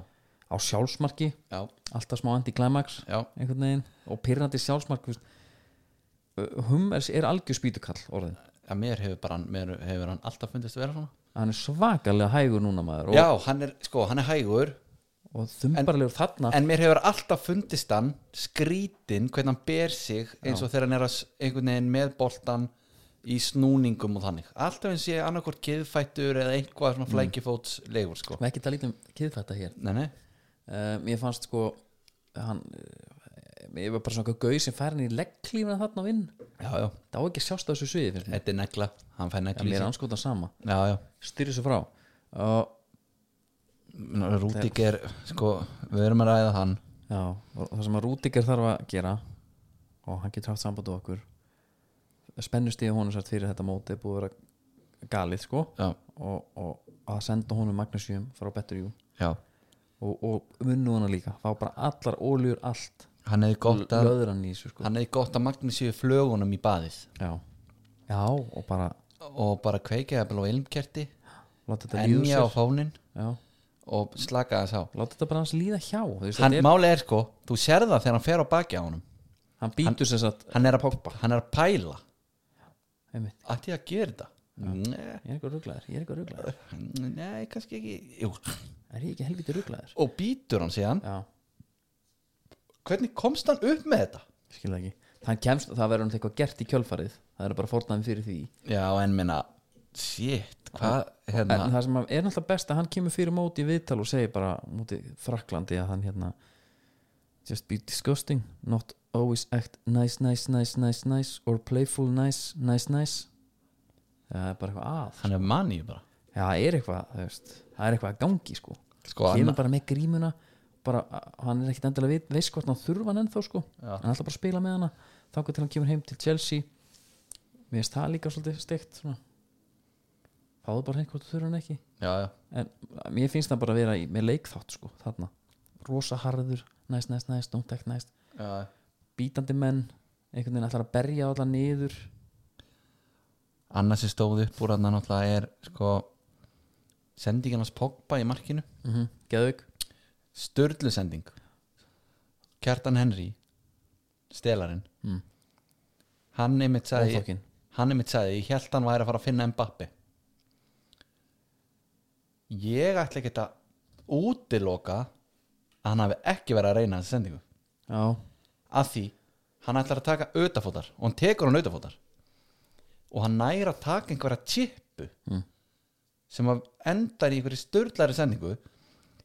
A: á sjálfsmarki,
B: já,
A: alltaf smá anti-climax
B: já,
A: einhvern veginn og pyrrandi sjálfsmark þú veist. Hummers er algjör spýtukall orðin
B: já mér hefur bara mér hefur hann alltaf fundist að vera svona
A: hann er svakalega hægur núna maður og,
B: já, hann er, sko, hann er hægur
A: og þumbarlegur þarna
B: en mér hefur alltaf fundist hann skrítin hvernig hann ber sig eins og þegar hann er að s- einhvern veginn með boltan í snúningum og þannig alltaf eins ég annarkvort geðfættur eða einhvað svona flækifóts legur sko
A: við ekki tala lítið um kiðfætta hér
B: Mm. nei, nei,
A: uh, mér fannst sko hann eh, ég var bara svona eitthvað gauð sem fær hann í legglífuna þarna og vinn
B: já, já,
A: það á ekki að sjást á þessu sviði finnst mér
B: þetta er negla hann fær
A: ja,
B: negli
A: mér er
B: já,
A: anskotan sama
B: já, já.
A: styrir svo frá uh,
B: Rúdík er, sko, við erum að ræða hann
A: já, og það sem að Rúdíker þarf að gera og hann getur haft samband á okkur spennust í honum sært fyrir þetta móti er búið að vera galið sko
B: já,
A: og, og að senda honum Magnusjum frá Better You
B: já,
A: og, og munnu hana líka fá bara allar óljur allt
B: hann hefði gott að
A: löður hann í þessu sko
B: hann hefði gott að magna séu flögunum í baðið
A: já. já og bara
B: og bara kveikið að blá ilmkerti
A: láta þetta líða úr
B: enja á
A: sér
B: fónin
A: já.
B: og slaka þess á
A: láta þetta bara hans líða hjá Þú veist,
B: hann,
A: þetta er,
B: málið er sko, þú sér það þegar hann fer á baki á honum
A: hann býtur sem sagt
B: hann er að, hann er að pæla
A: einmitt,
B: ætti ég að gera þetta Nei,
A: ég er eitthvað rugglaður, ég er eitthvað rugglaður
B: Nei, kannski ekki Jú.
A: er ég ekki helviti rugglaður
B: og býtur hann síðan
A: já,
B: hvernig komst hann upp með þetta
A: skilða ekki hann kemst, það verður hann eitthvað gert í kjölfarið það er bara fórnaðum fyrir því
B: já, en minna, shit hvað, hérna
A: en það sem er náttúrulega best að hann kemur fyrir móti í viðtal og segir bara móti Fraklandi að hann hérna just be disgusting not always act nice, nice, nice, nice, nice or playful, nice, nice, nice það er bara eitthvað að
B: hann er maníu bara
A: já, það er eitthvað, það, veist, það er eitthvað að gangi sko
B: Sko,
A: kemur
B: annað-
A: bara með grímuna bara, hann er ekkit endilega við, veist hvort hann þurfa hann ennþá sko
B: Já.
A: hann er alltaf bara að spila með hana þangar til hann kemur heim til Chelsea mér finnst það líka svolítið steikt svona fáðu bara hreint hvort þú þurfa hann ekki
B: já, já,
A: en mér finnst það bara að vera í, með leikþátt sko, þarna rosa harður, næst, næst, næst, don't act næst
B: já
A: bítandi menn, einhvern veginn ætlar að berja alla niður
B: annars sem stóð upp úr hann náttúrulega er sko sendingin hans Pogba í markinu
A: mm -hmm. geðvik,
B: störlu sending Kjartan Henry stelarinn
A: Mm.
B: hann einmitt sagði
A: óþokkin
B: hann einmitt sagði, ég held hann væri að fara að finna Mbappi ég ætla ekki að útiloka að hann hafi ekki verið að reyna þessi sendingu
A: já,
B: að því hann ætlar að taka auðafótar og hann tekur hann auðafótar og hann næra að taka einhverja tippu
A: Mm.
B: sem að endar í einhverju störlari sendingu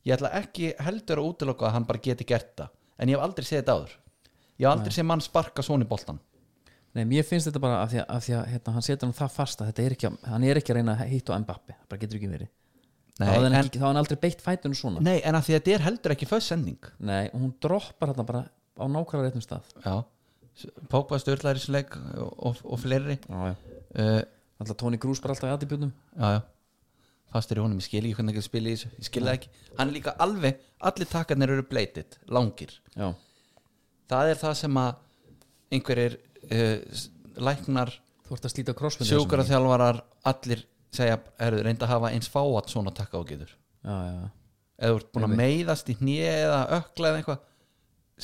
B: ég ætla ekki heldur að útiloka að hann bara geti gert það en ég hef aldrei séð þetta áður ég hef aldrei séð mann sparka svona í boltan
A: nei, mér finnst þetta bara af því að, af því að hérna, hann setur hann það fasta, þetta er ekki að, hann er ekki að reyna að hitta á Mbappi, það bara getur ekki verið þá
B: nei,
A: er hann,
B: en,
A: ekki, þá er hann aldrei beitt fætunum svona nei.
B: nei, en að því að þetta er heldur ekki föst sending
A: og hún droppar hérna bara á nákvæmlega réttum stað
B: já, Pópa störlari sleik og, og, og fleiri
A: já, já.
B: uh,
A: alltaf Tony Cruz bara alltaf í aðibjörnum
B: já, já fastur í honum, ég skil ekki hvernig hann spila í þessu ég skil það ekki, hann er líka alveg allir takkarnir eru bleitit, langir
A: já,
B: það er það sem að einhverjir uh, s- læknar,
A: þú ert að slíta crossfit
B: sjúkraþjálfarar allir segja, eru reynda að hafa eins fáat svona takka og getur
A: já, já, já
B: eða þú ert búin að meiðast í hné eða ökla eða eitthvað,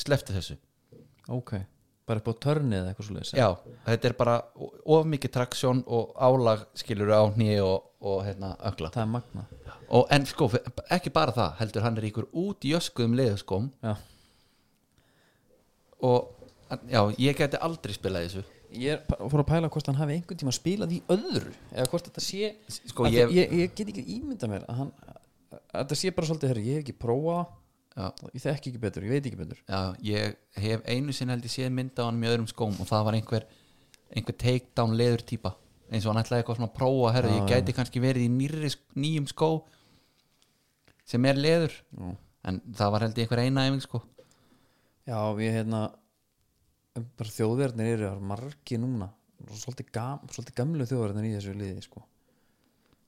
B: slefti þessu
A: ok, bara upp á törni eða eitthvað svo
B: já, þetta er bara o- of mikið traksjón og álag skilur á hné og, og hérna, ökla
A: það er magna
B: og, en sko, ekki bara það, heldur hann er í ykkur út í öskuðum leiðuskóm
A: já.
B: og já, ég geti aldrei spilað í þessu
A: ég er, fór að pæla hvort hann hafi einhvern tíma spilað í öðru eða hvort þetta sé
B: Sko,
A: Af því
B: ég-
A: ég, ég get ekki ímynda mér að hann að þetta sé bara svolítið, herri, ég hef ekki prófað
B: já,
A: það, ég þekki ekki betur, ég veit ekki betur
B: já, ég hef einu sinni held ég séð mynda á hann með öðrum skóm og það var einhver einhver takedown leður típa eins og hann ætlaði eitthvað svona að prófa herri, ég gæti kannski verið í nýrri, sk- nýjum skó sem er leður já. en það var held ég einhver eina æfing sko
A: já, við hérna bara þjóðverðnir eru það eru margir núna svolítið, gam, svolítið gamlu þjóðverðnir í þessu liði sko.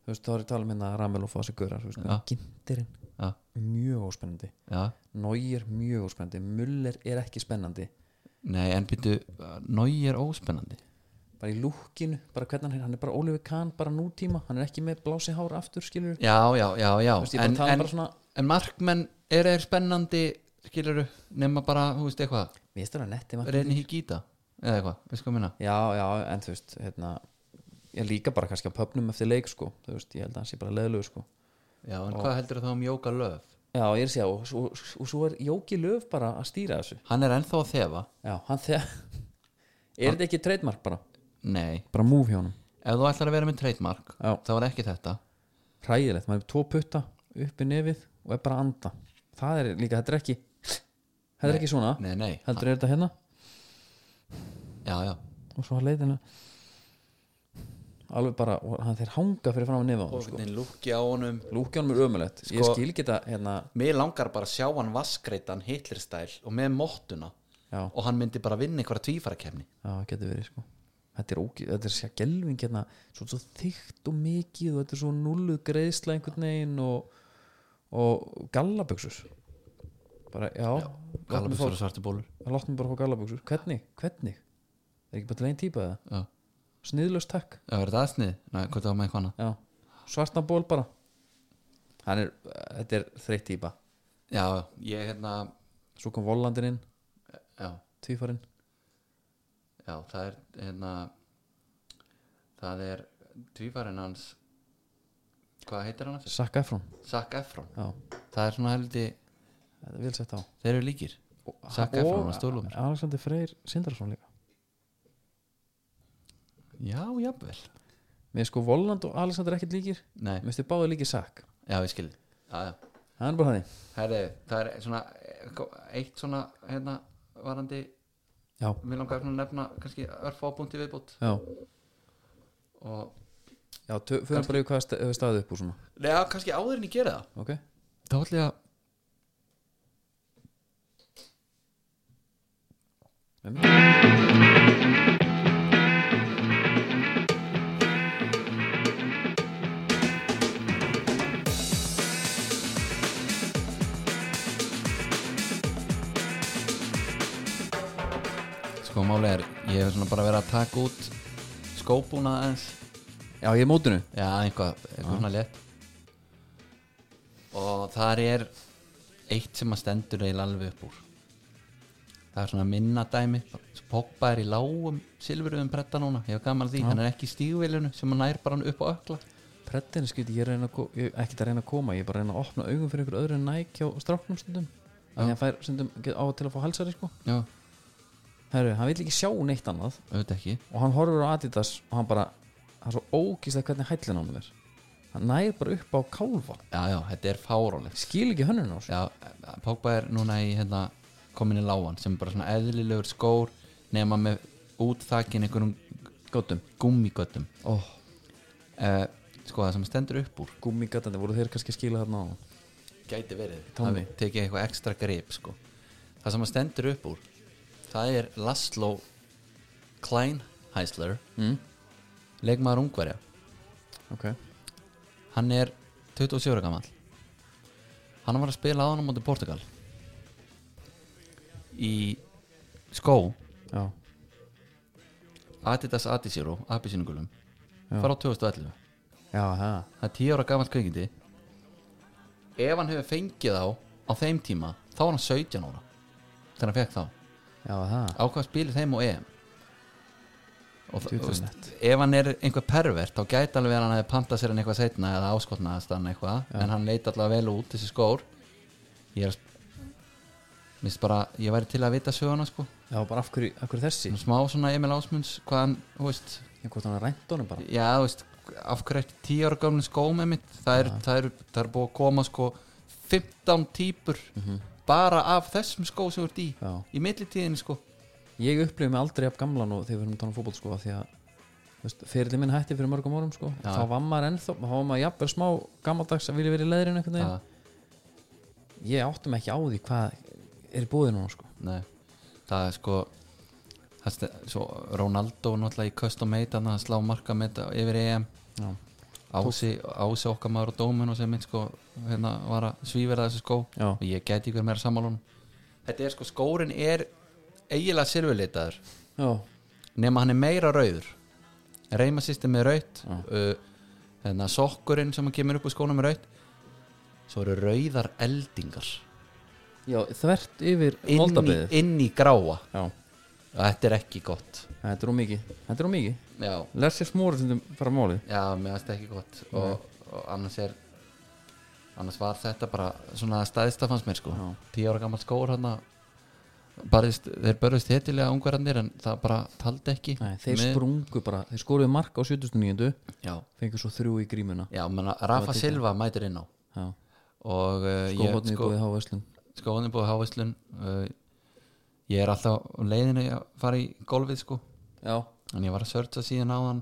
A: þú veist, þá er ég að tala minna Ramel og Fossi Görar, þú veist,
B: Já.
A: gindurinn
B: já,
A: mjög óspennandi
B: já,
A: Nóir mjög óspennandi, Muller er ekki spennandi
B: nei en byrju nói er óspennandi
A: bara í lúkinu, bara hvernig hann er hann er bara Oliver Kahn, bara nútíma, hann er ekki með blási hár aftur, skilur
B: já, já, já, já
A: Þú veist, ég bara tala um bara svona-
B: en markmenn er þeir spennandi skiluru, nema bara, hú veist eitthvað
A: mér stöður að netti maður
B: reyni higita eða eitthvað, veist hvað minna
A: já, já, en þú veist, hérna ég líka bara kannski á pöpnum eftir leik sko, þú veist, ég held að hann sé bara leðlegu sko
B: já, en hvað heldur það um Jóka Löf
A: já, ég er að segja, og, svo- og, og svo er Jóki Löf bara að stýra þessu,
B: hann er ennþá að þefa,
A: já, hann þegar er þetta ekki trademark bara
B: nei
A: bara múf hjá honum,
B: ef þú ætlar að vera með trademark,
A: Já.
B: þá er ekki þetta
A: hræðilegt maður er með tvo putta uppi nefið og er bara að anda það er líka, þetta er ekki þetta er ekki svona,
B: nei, nei,
A: heldur er þetta hérna
B: já, já
A: og svo leiðina alveg bara, og hann þeir hanga fyrir fram að nefa hann sko.
B: Hvernig lúkja á honum
A: lúkjánum er ömulegt, ég
B: Sko-
A: skil ekki þetta hérna,
B: mér langar bara að sjá hann vaskreitan Hitlerstæl og með móttuna
A: já,
B: og hann myndi bara vinna einhverja tvífarakefni
A: já, getur verið sko þetta er, ógi, þetta er sér gelving hérna, svo, svo þykkt og mikið og þetta er svo nullu greiðsla einhvern veginn og, og gallaböksur bara, já, já
B: galabusur og svartu bólur
A: láttum bara fá gallaböksur, hvernig, hvernig er ekki bara til einn típa eða,
B: já,
A: sniðlöst takk
B: já er þetta aðsnið? nei, hvað það var með eitthvað annað
A: já, svartan ból bara hann er, þetta er þreytt típa
B: já, ég hérna,
A: svo kom Vollandin inn,
B: já
A: tvífarinn
B: Já, það er hérna það er tvífarinn hans hvað heitir hann aftur?
A: Sakka Efron
B: Zac Efron
A: já,
B: það er svona heldi,
A: þetta er vel sett á
B: þeir eru líkir Zac Efron var stólumur
A: Alexander Freyr Sindarsson líka
B: Já, jafnvel
A: með sko Volland og Alexander ekkert líkir
B: Nei,
A: með stu báði líki Sakk
B: já, ég skil já, já.
A: það er bara þannig
B: Herri, það er svona eitt svona hérna varandi
A: já,
B: mér langar svona að nefna kannski örfábúnti viðbútt
A: já,
B: og
A: já tö- förum bara yfir hvað sta- hefur staðið upp úr svona
B: Nei, já, kannski áður en ég gera það
A: ok,
B: þá ætla ég að sko máli er ég hef svona bara verið að taka út skópuna eins
A: Já, ég er mótinu
B: já, einhvað, eitthvað svona létt og þar er eitt sem að stendur eiginlega alveg upp úr það er svona minna dæmi Svo Pogba er í lágum silfuruðum bretta núna, ég hef gaman að því hann er ekki í stígvélinu sem hann nær bara hann upp á ökla
A: Preddin, skyti, ég er að reyna að ko- ég, ekki að reyna að koma Ég er bara að reyna að opna augun fyrir ykkur öðru en næk hjá stráknum stundum Þannig að hann fær stundum get, á til að fá halsari sko
B: já,
A: Herru, hann vil ekki sjá neitt annað
B: auðvitað ekki
A: og hann horfur á Adidas og hann bara hann er svo ógíslega hvernig hællin ánum er hann nær bara upp á kálfa
B: já, já, þetta er fárólegt
A: skil ekki hönnun á þessu
B: Já, Pogba er núna í hérna komin í lágan sem er bara svona eðlilegur skór nema með útþakin einhverjum
A: góttum
B: gummigötum
A: oh,
B: uh, sko það sem stendur upp úr
A: gummigatandi, voru þeir kannski að skila þarna á
B: gæti verið
A: Tommy.
B: það tekið eitthvað ekstra grip sko. það sem stendur upp úr það er Laszlo Kleinheisler
A: mm.
B: leikmaður ungverja
A: ok,
B: hann er 27 ára gammal hann var að spila á hann á móti Portugal í skó
A: já,
B: Adidas Adizero Abyssinugulum
A: Já.
B: fara á 2011
A: já, það
B: það er 10 ára gamalt kveikindi ef hann hefur fengið þá á þeim tíma þá var hann 17 ára þegar hann fekk þá
A: já, það,
B: á hvað spilir þeim og EM og það,
A: Djöfull
B: þú veist,
A: nett.
B: ef hann er einhver pervert þá gæti alveg að hann hefði pantað sér hann eitthvað setna eða áskotnaðast hann eitthvað en hann leit allavega vel út þessi skór ég er mist bara, ég væri til að vita söguna sko
A: já, bara af hverju, af hverju þessi
B: smá svona Emil Ásmunds hvað hann, hú veist,
A: ég hvort hann rænt honum bara
B: Já, þú veist, af hverju ekki tíu ára gamlin skóm einmitt, það er, það er, það er búið að koma sko 15 típur bara af þessum skó sem þú ert í
A: Mhm. já.
B: í millitíðinni sko
A: ég upplifði mig aldrei af gamlan og þegar við erum talað um fótboll sko af því að þú veist, fyrirli minn hætti fyrir mörgum árum sko
B: Já.
A: þá var maður ennþá, þá var maður jafnvel smá gammaldags að vilja verið í leðrinu einhvern veginn
B: það,
A: ég áttum ekki á því hvað er búið núna sko
B: nei, það er sko það er ste- svo Ronaldo náttúrulega í custom made hann slá marka með þetta yfir EM
A: já,
B: Ási, Ási okkar maður og dómin og sem minn sko hérna var að svíverða þessu skó
A: já,
B: og ég gæti ykkur meira sammálun þetta er sko, skórin er eiginlega silfurlitaður
A: já.
B: nema hann er meira rauður reymasystem er raut
A: Já.
B: uh, þannig að sokkurinn sem hann kemur upp úr skónum er raut svo eru rauðar eldingar
A: já þvert yfir
B: inn í,
A: moldabeðið
B: inn í gráa
A: já,
B: og þetta er ekki gott
A: þetta er ómikið þetta er ómikið
B: já,
A: Lersi smóra sem þum fara málið
B: já mér finnst þetta ekki gott og, og annars er annars var þetta bara svona staðista fannst mér sko
A: Já.
B: tíu ára gammal skór hann barðist, þeir börðist hetilega ungverðanir en það bara taldi ekki
A: Nei, þeir
B: Með-
A: sprungu bara, þeir skoruðu mark á 79.
B: já,
A: fengur svo þrjú í grímuna
B: já menna, Rafa Silva mætir inn á
A: já,
B: og uh, ég,
A: góðhóttni sko, búið háveslun
B: skóðan er búið hávæslun uh, ég er alltaf á leiðinu að fara í golfið sko
A: já,
B: en ég var að sörta síðan á hann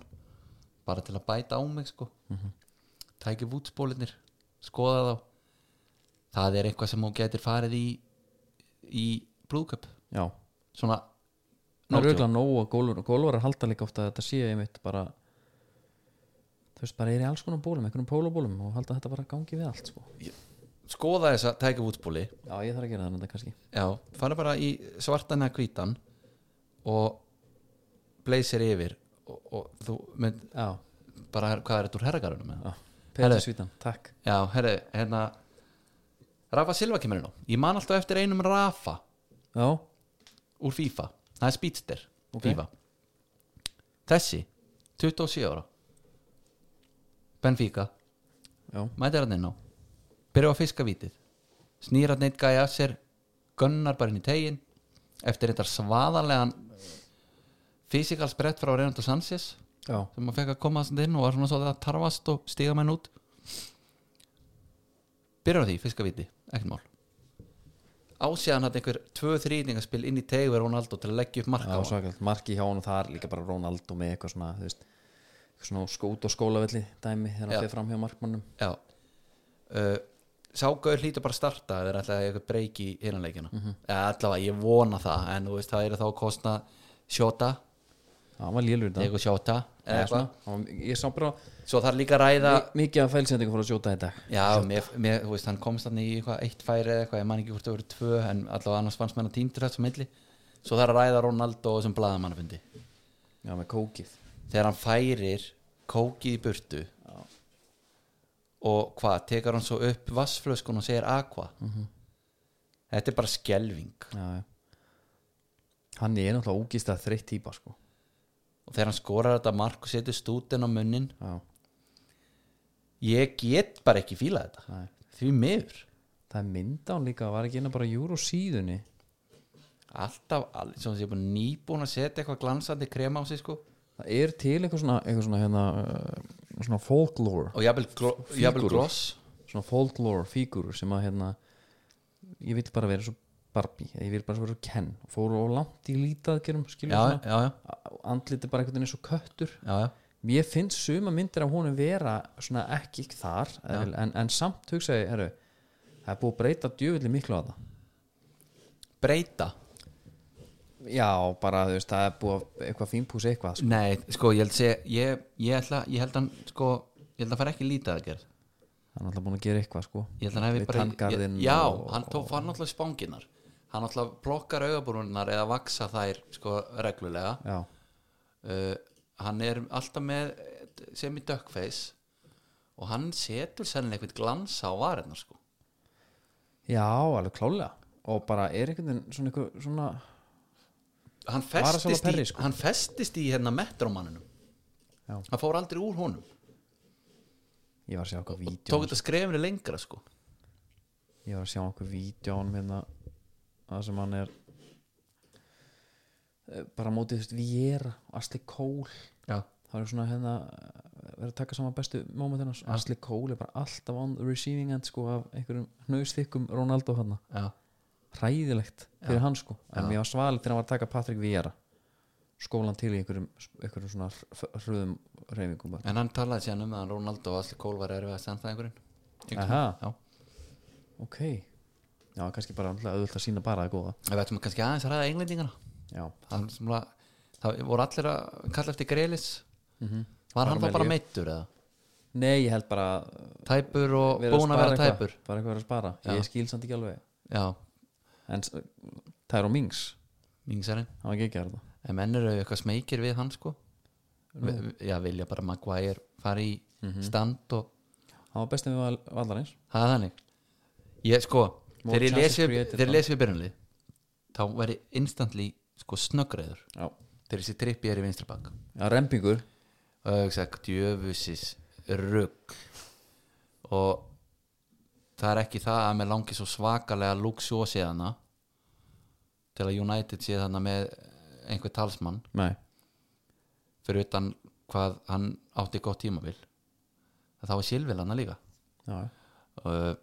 B: bara til að bæta á mig sko mm -hmm. tæki vútsbólinir skoða þá það er eitthvað sem hún getur farið í í blúðköp
A: já
B: svona
A: það er
B: Náttúrulega.
A: auðvitað nóg að gólvar, gólvarar halda líka ofta að þetta sé einmitt bara þú veist, bara er í alls konar bólum einhvern pólabólum og halda að þetta bara gangi við allt sko.
B: skoða þess að tæki vútsbóli
A: já, ég þarf að gera það þetta kannski
B: já, fara bara í svartan eða hvítan og bleysir yfir og, og þú mynd
A: já,
B: bara hvað er þetta úr herragarunum með
A: já,
B: Herðu.
A: Petra Svítan, takk
B: Já, herri, hérna Rafa Silva kemur inn á Ég man alltaf eftir einum Rafa
A: já,
B: úr FIFA Það er Speedster
A: Ok.
B: FIFA Þessi, 27 ára Benfica
A: já,
B: Mætir hann inn á Byrja á að fiska vítið Snýr hann eitt gæja að sér Gunnar bara inn í tegin Eftir þetta svaðarlegan Fysikal sprett frá Reynaldur Sanchez
A: já,
B: sem maður fekk að koma þessand inn og var svona svo að tarfast og stiga menn út byrjar á því, fiskaviti, ekkert mál ásíðan hann einhver tvö þrýningaspil inn í tegu er Ronaldo til að leggja upp marka á
A: já
B: hann
A: svakalt, marki hjá hann og það er líka bara Ronaldo með eitthvað svona, þú veist eitthvað svona skót og skólavelli dæmi þegar
B: Já.
A: hann fyrir fram hjá markmannum
B: já uh, ságauður hlýtur bara að starta eða ætlaði eitthvað breyki í hinnanleikina mm -hmm. allavega, ég vona það en þú veist, það er þá að kostna sjóta,
A: já, hann var lélur þetta
B: eitthvað sjóta eða eitthvað,
A: ég sá bara
B: svo þarf líka að ræða
A: mikið af fælsendingum fyrir að sjóta í dag
B: Já, mér, mér, þú veist, hann komst hann í eitthvað eitt færi eða eitthvað, ég man ekki hvort það voru tvö en allavega annars fannst mér hann tím til þess að milli svo þarf að ræða Ronaldo sem blaðamannafundi
A: já, með kókið
B: þegar hann færir kókið í burtu og hvað, tekar hann svo upp vassflöskun og segir aqua þetta er bara skelving
A: já, já. hann er náttúrulega ógist að þreytt típa sko.
B: og þegar hann skorar þetta mark og setur stútin á munnin
A: já,
B: ég get bara ekki fílað þetta
A: Nei.
B: því miður
A: það er mynda hann líka var ekki hérna bara júru síðunni
B: alltaf, all, svo sem ég er búin nýbúin að setja eitthvað glansandi krema á sig sko
A: það er til eitthvað svona, eitthvað svona, hérna, uh, svona folklore
B: og jafnvel glo- jafnvel gloss
A: svona folklore fígurur sem að hérna ég vil bara vera svo Barbie eða ég vil bara vera svo Ken fóru og langt í lítaðgerum skilur
B: já,
A: svona.
B: já, já,
A: andlit er bara einhvern veginn eins og köttur
B: já, já.
A: mér finnst suma myndir af honum vera svona ekki þar eðl, en, en samt hugsaði, herru það er búið að breyta djöfulli miklu að það
B: breyta
A: já, bara þú veist, það er búið að eitthvað fínpús eitthvað sko.
B: Nei, sko, ég held að segja ég, ég, ætla, ég held að hann, sko ég held að hann fara ekki lítið að gerð
A: það er alltaf búin að gera eitthvað sko
B: ég held að hann hefði
A: Við
B: bara ég,
A: tanngarðinn
B: Já,
A: og-
B: hann tók fann alltaf spanginnar hann alltaf blokkar augabúrunnar eða vaksa þær, sko, reglulega
A: já,
B: uh, hann er alltaf með eh, sem í duckface og hann setur sennilega eitthvað glansa á varinnar, sko
A: já, alveg klálega og bara er einhvern veginn svona, einhver, svona
B: hann
A: Varasala
B: festist,
A: Perry,
B: í,
A: sko.
B: hann festist í hérna metrómanninum
A: Já.
B: hann fór aldrei úr honum
A: ég var að sjá okkur vídeo
B: tók þetta skrefinu lengra sko
A: ég var að sjá okkur vídjón hérna það sem hann er eh, bara á móti þú veist Viera og Asli Kól
B: já.
A: það er svona hérna eh, verið að taka saman bestu móment hennar Asli Kól er bara alltaf on the receiving end sko af einhverjum hnausþykkum Ronaldo hann
B: Já.
A: hræðilegt fyrir hann sko en mér var svalið þegar hann var að taka Patrick Viera skólan til í einhverjum, einhverjum svona hr- hröðum reyfingum bara.
B: en hann talaði síðan um að Ronaldo og Asli Kól var erfið að standa einhverjum
A: Aha.
B: já.
A: ok já kannski bara auðvitað að sína bara að góða
B: En við ættum kannski aðeins að ræða englendingana
A: já
B: það, er sem að, það voru allir að kalla eftir Grelis var hann
A: Mhm. Bara
B: þá
A: með
B: bara
A: líf.
B: meittur eða
A: nei ég held bara eh,
B: tæpur og
A: verið
B: búin að
A: spara
B: vera
A: eitthvað,
B: tæpur
A: bara eitthvað verið að spara, ég skil samt ekki alveg
B: já,
A: en s- Tyrone Mings,
B: mingsarinn
A: hann var ekki ekki að það
B: en menn eru eitthvað smekir við hann sko Vi- já, vilja bara Maguire fara í
A: Mhm.
B: stand og
A: hann var bestið við vallarins
B: það er þannig ég sko,
A: More
B: þegar ég
A: chances
B: lesi
A: created,
B: þegar ég
A: þá.
B: lesi við byrjunlið þá væri instantly sko snöggreður
A: já,
B: þegar þessi trippi er í vinstri bak
A: já rempingur
B: og ég hugsa, djöfusis rugg og það er ekki það að mér langi svo svakalega luxjósi hana til að United sé þarna með einhver talsmann
A: nei,
B: fyrir utan hvað hann átti gott tímabil þá var Silvil hana líka
A: já, já.
B: uh,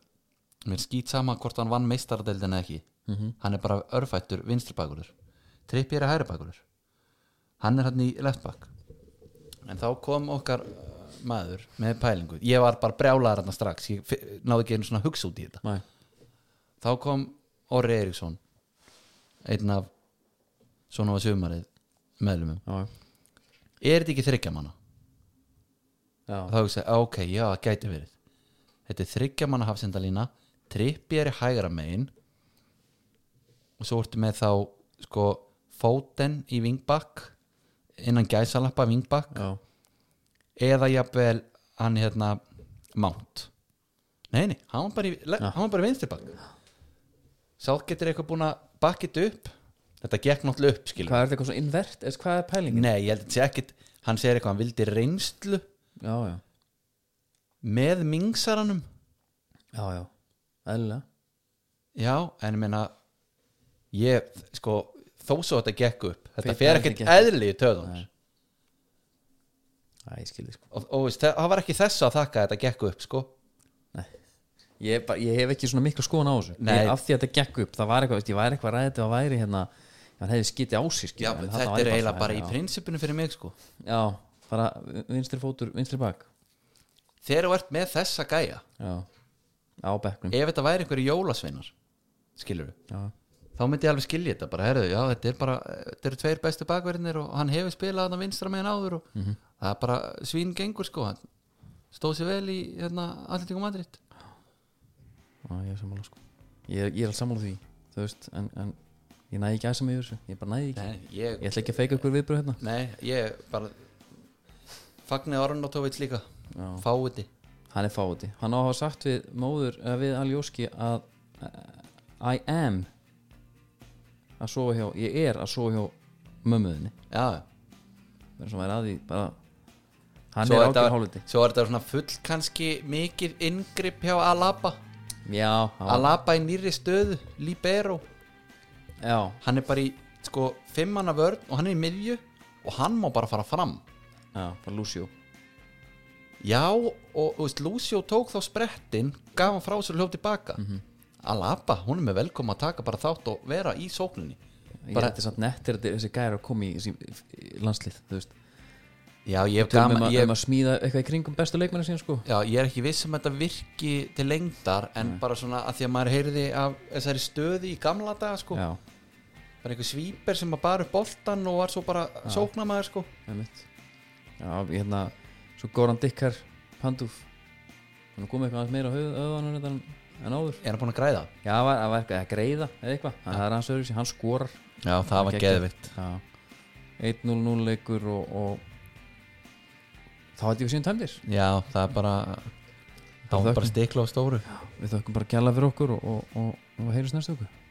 B: mér skýt sama hvort hann vann meistaradeildin eða ekki hann er bara örfættur vinstribakurur Trippi er að hæribakurur hann er hann í leftbak en þá kom okkar uh, maður með pælingu, ég var bara brjálaðar hann strax, ég fi- náði ekki einu svona hugsa út í þetta
A: nei,
B: þá kom Orri Eriksson einn af svona var sumarið meðlumum
A: já, já.
B: er þetta ekki þryggja manna?
A: já.
B: og þá hugsaði, ég, ok, já, það gæti verið þetta er þryggja manna hafsendalína trippi er í hægra megin og svo ertu með þá sko, fóten í vingbakk innan gæsalappa vingbakk
A: já.
B: eða jafnvel hann hérna mount nei, nei, hann var bara, í, le- hann var bara vinstri bakk sá getur eitthvað búin að bakkið upp þetta gekk náttúrulega upp, skilur
A: hvað er þetta eitthvað svo invert, eða hvað er pælingin
B: nei, ég held að þetta sé ekkit hann segir eitthvað, hann vildi reynslu
A: já, já,
B: með mingsaranum
A: já, já, eðlilega
B: Já, en ég meina ég, sko, þó svo þetta gekk upp þetta
A: Fyrir
B: fer
A: þetta
B: ekkert
A: gekk upp.
B: eðli í töðunar
A: Æ, ég skil þig sko
B: og, og veist, það það var ekki þessu að þakka að þetta gekk upp, sko
A: ég, er bara, ég hef ekki svona mikla skoðan á þessu
B: Nei.
A: ég, af því að þetta gekk upp, það var eitthvað veist, ég væri eitthvað ræðið að væri hérna hann hefði skitið á sig skilur, en þarna
B: þetta
A: væri
B: er eiginlega bara
A: svona,
B: í prinsipinu fyrir mig, sko
A: já, já, bara vinstri fótur, vinstri bak
B: þegar þú ert með þessa gæja
A: já, á bekknum
B: ef þetta væri einhverju jólasveinar skilur við,
A: já,
B: þá myndi ég alveg skilja þetta bara, herðu, já, þetta er bara, þetta eru tveir bestu bakverðinir og hann hefur spilað hann vinstra megin áður og
A: Mhm.
B: það er bara svín gengur, sko hann stóð sér vel í, hérna, Atletico Madrid
A: já, ég er sammála sko ég, er- ég er alls sammála því, þú veist en, en ég næði ekki aðeins með þessu ég bara næði ekki,
B: Nei, ég,
A: ég ætla ekki að feika ykkur viðbröð hérna
B: nei, ég bara Fagnið Arnóttovits líka
A: Já.
B: Fáiði
A: hann er fáti, hann á að hafa sagt við móður, eða við Aljóski að uh, I am að sofa hjá, ég er að sofa hjá mömmuðinni,
B: Já,
A: það er svona væri að því bara, hann
B: svo
A: er
B: er þetta-
A: ákveð hálfviti
B: Svo er þetta svona full kannski mikið ingrip hjá Alaba
A: já, hann var-
B: Alaba í nýri stöðu, Libero
A: já,
B: Hann er bara í sko fimmana vörn og hann er í miðju og hann má bara fara fram
A: já, bara Lucio
B: Já, og þú veist, Lucio tók þá sprettin gaf hann frá sér og hljóf tilbaka
A: Mhm.
B: Alaba, hún er með velkom að taka bara þátt og vera í sókninni
A: ég
B: Bara-
A: bara, þetta er samt nettir þetta er þessi gæri að koma í þessi landslið þú veist,
B: Já, ég hef
A: Gaman, um,
B: gaman
A: að,
B: ég,
A: um að smíða eitthvað í kringum bestu leikmenni síðan sko
B: Já, ég er ekki viss um að þetta virki til lengdar en bara svona að því að maður heyrði af þessari stöði í gamla daga sko,
A: já,
B: bara einhver svíper sem að bara upp boltan og var svo bara sóknamaður sko.
A: einmitt já, ég hérna, svo Goran Dikkar Pandúf hann er komið eitthvað aðeins meira á höfuð öðvanum en, hérna, en áður
B: Er hann búin að græða?
A: já, það var, það var eitthvað að greiða eða eitthvað það er hans öðru hann skorar
B: Já, það
A: Hann
B: var
A: geggjaður.
B: geðvitt
A: Já. 1-0-0 leikur og, og þá hætti við síðan tæmdir
B: Já, það er bara það var bara
A: þökkum.
B: stikla á stóru
A: við þökkum bara gæla fyrir okkur og, og, og, og heyrjum næstu okkur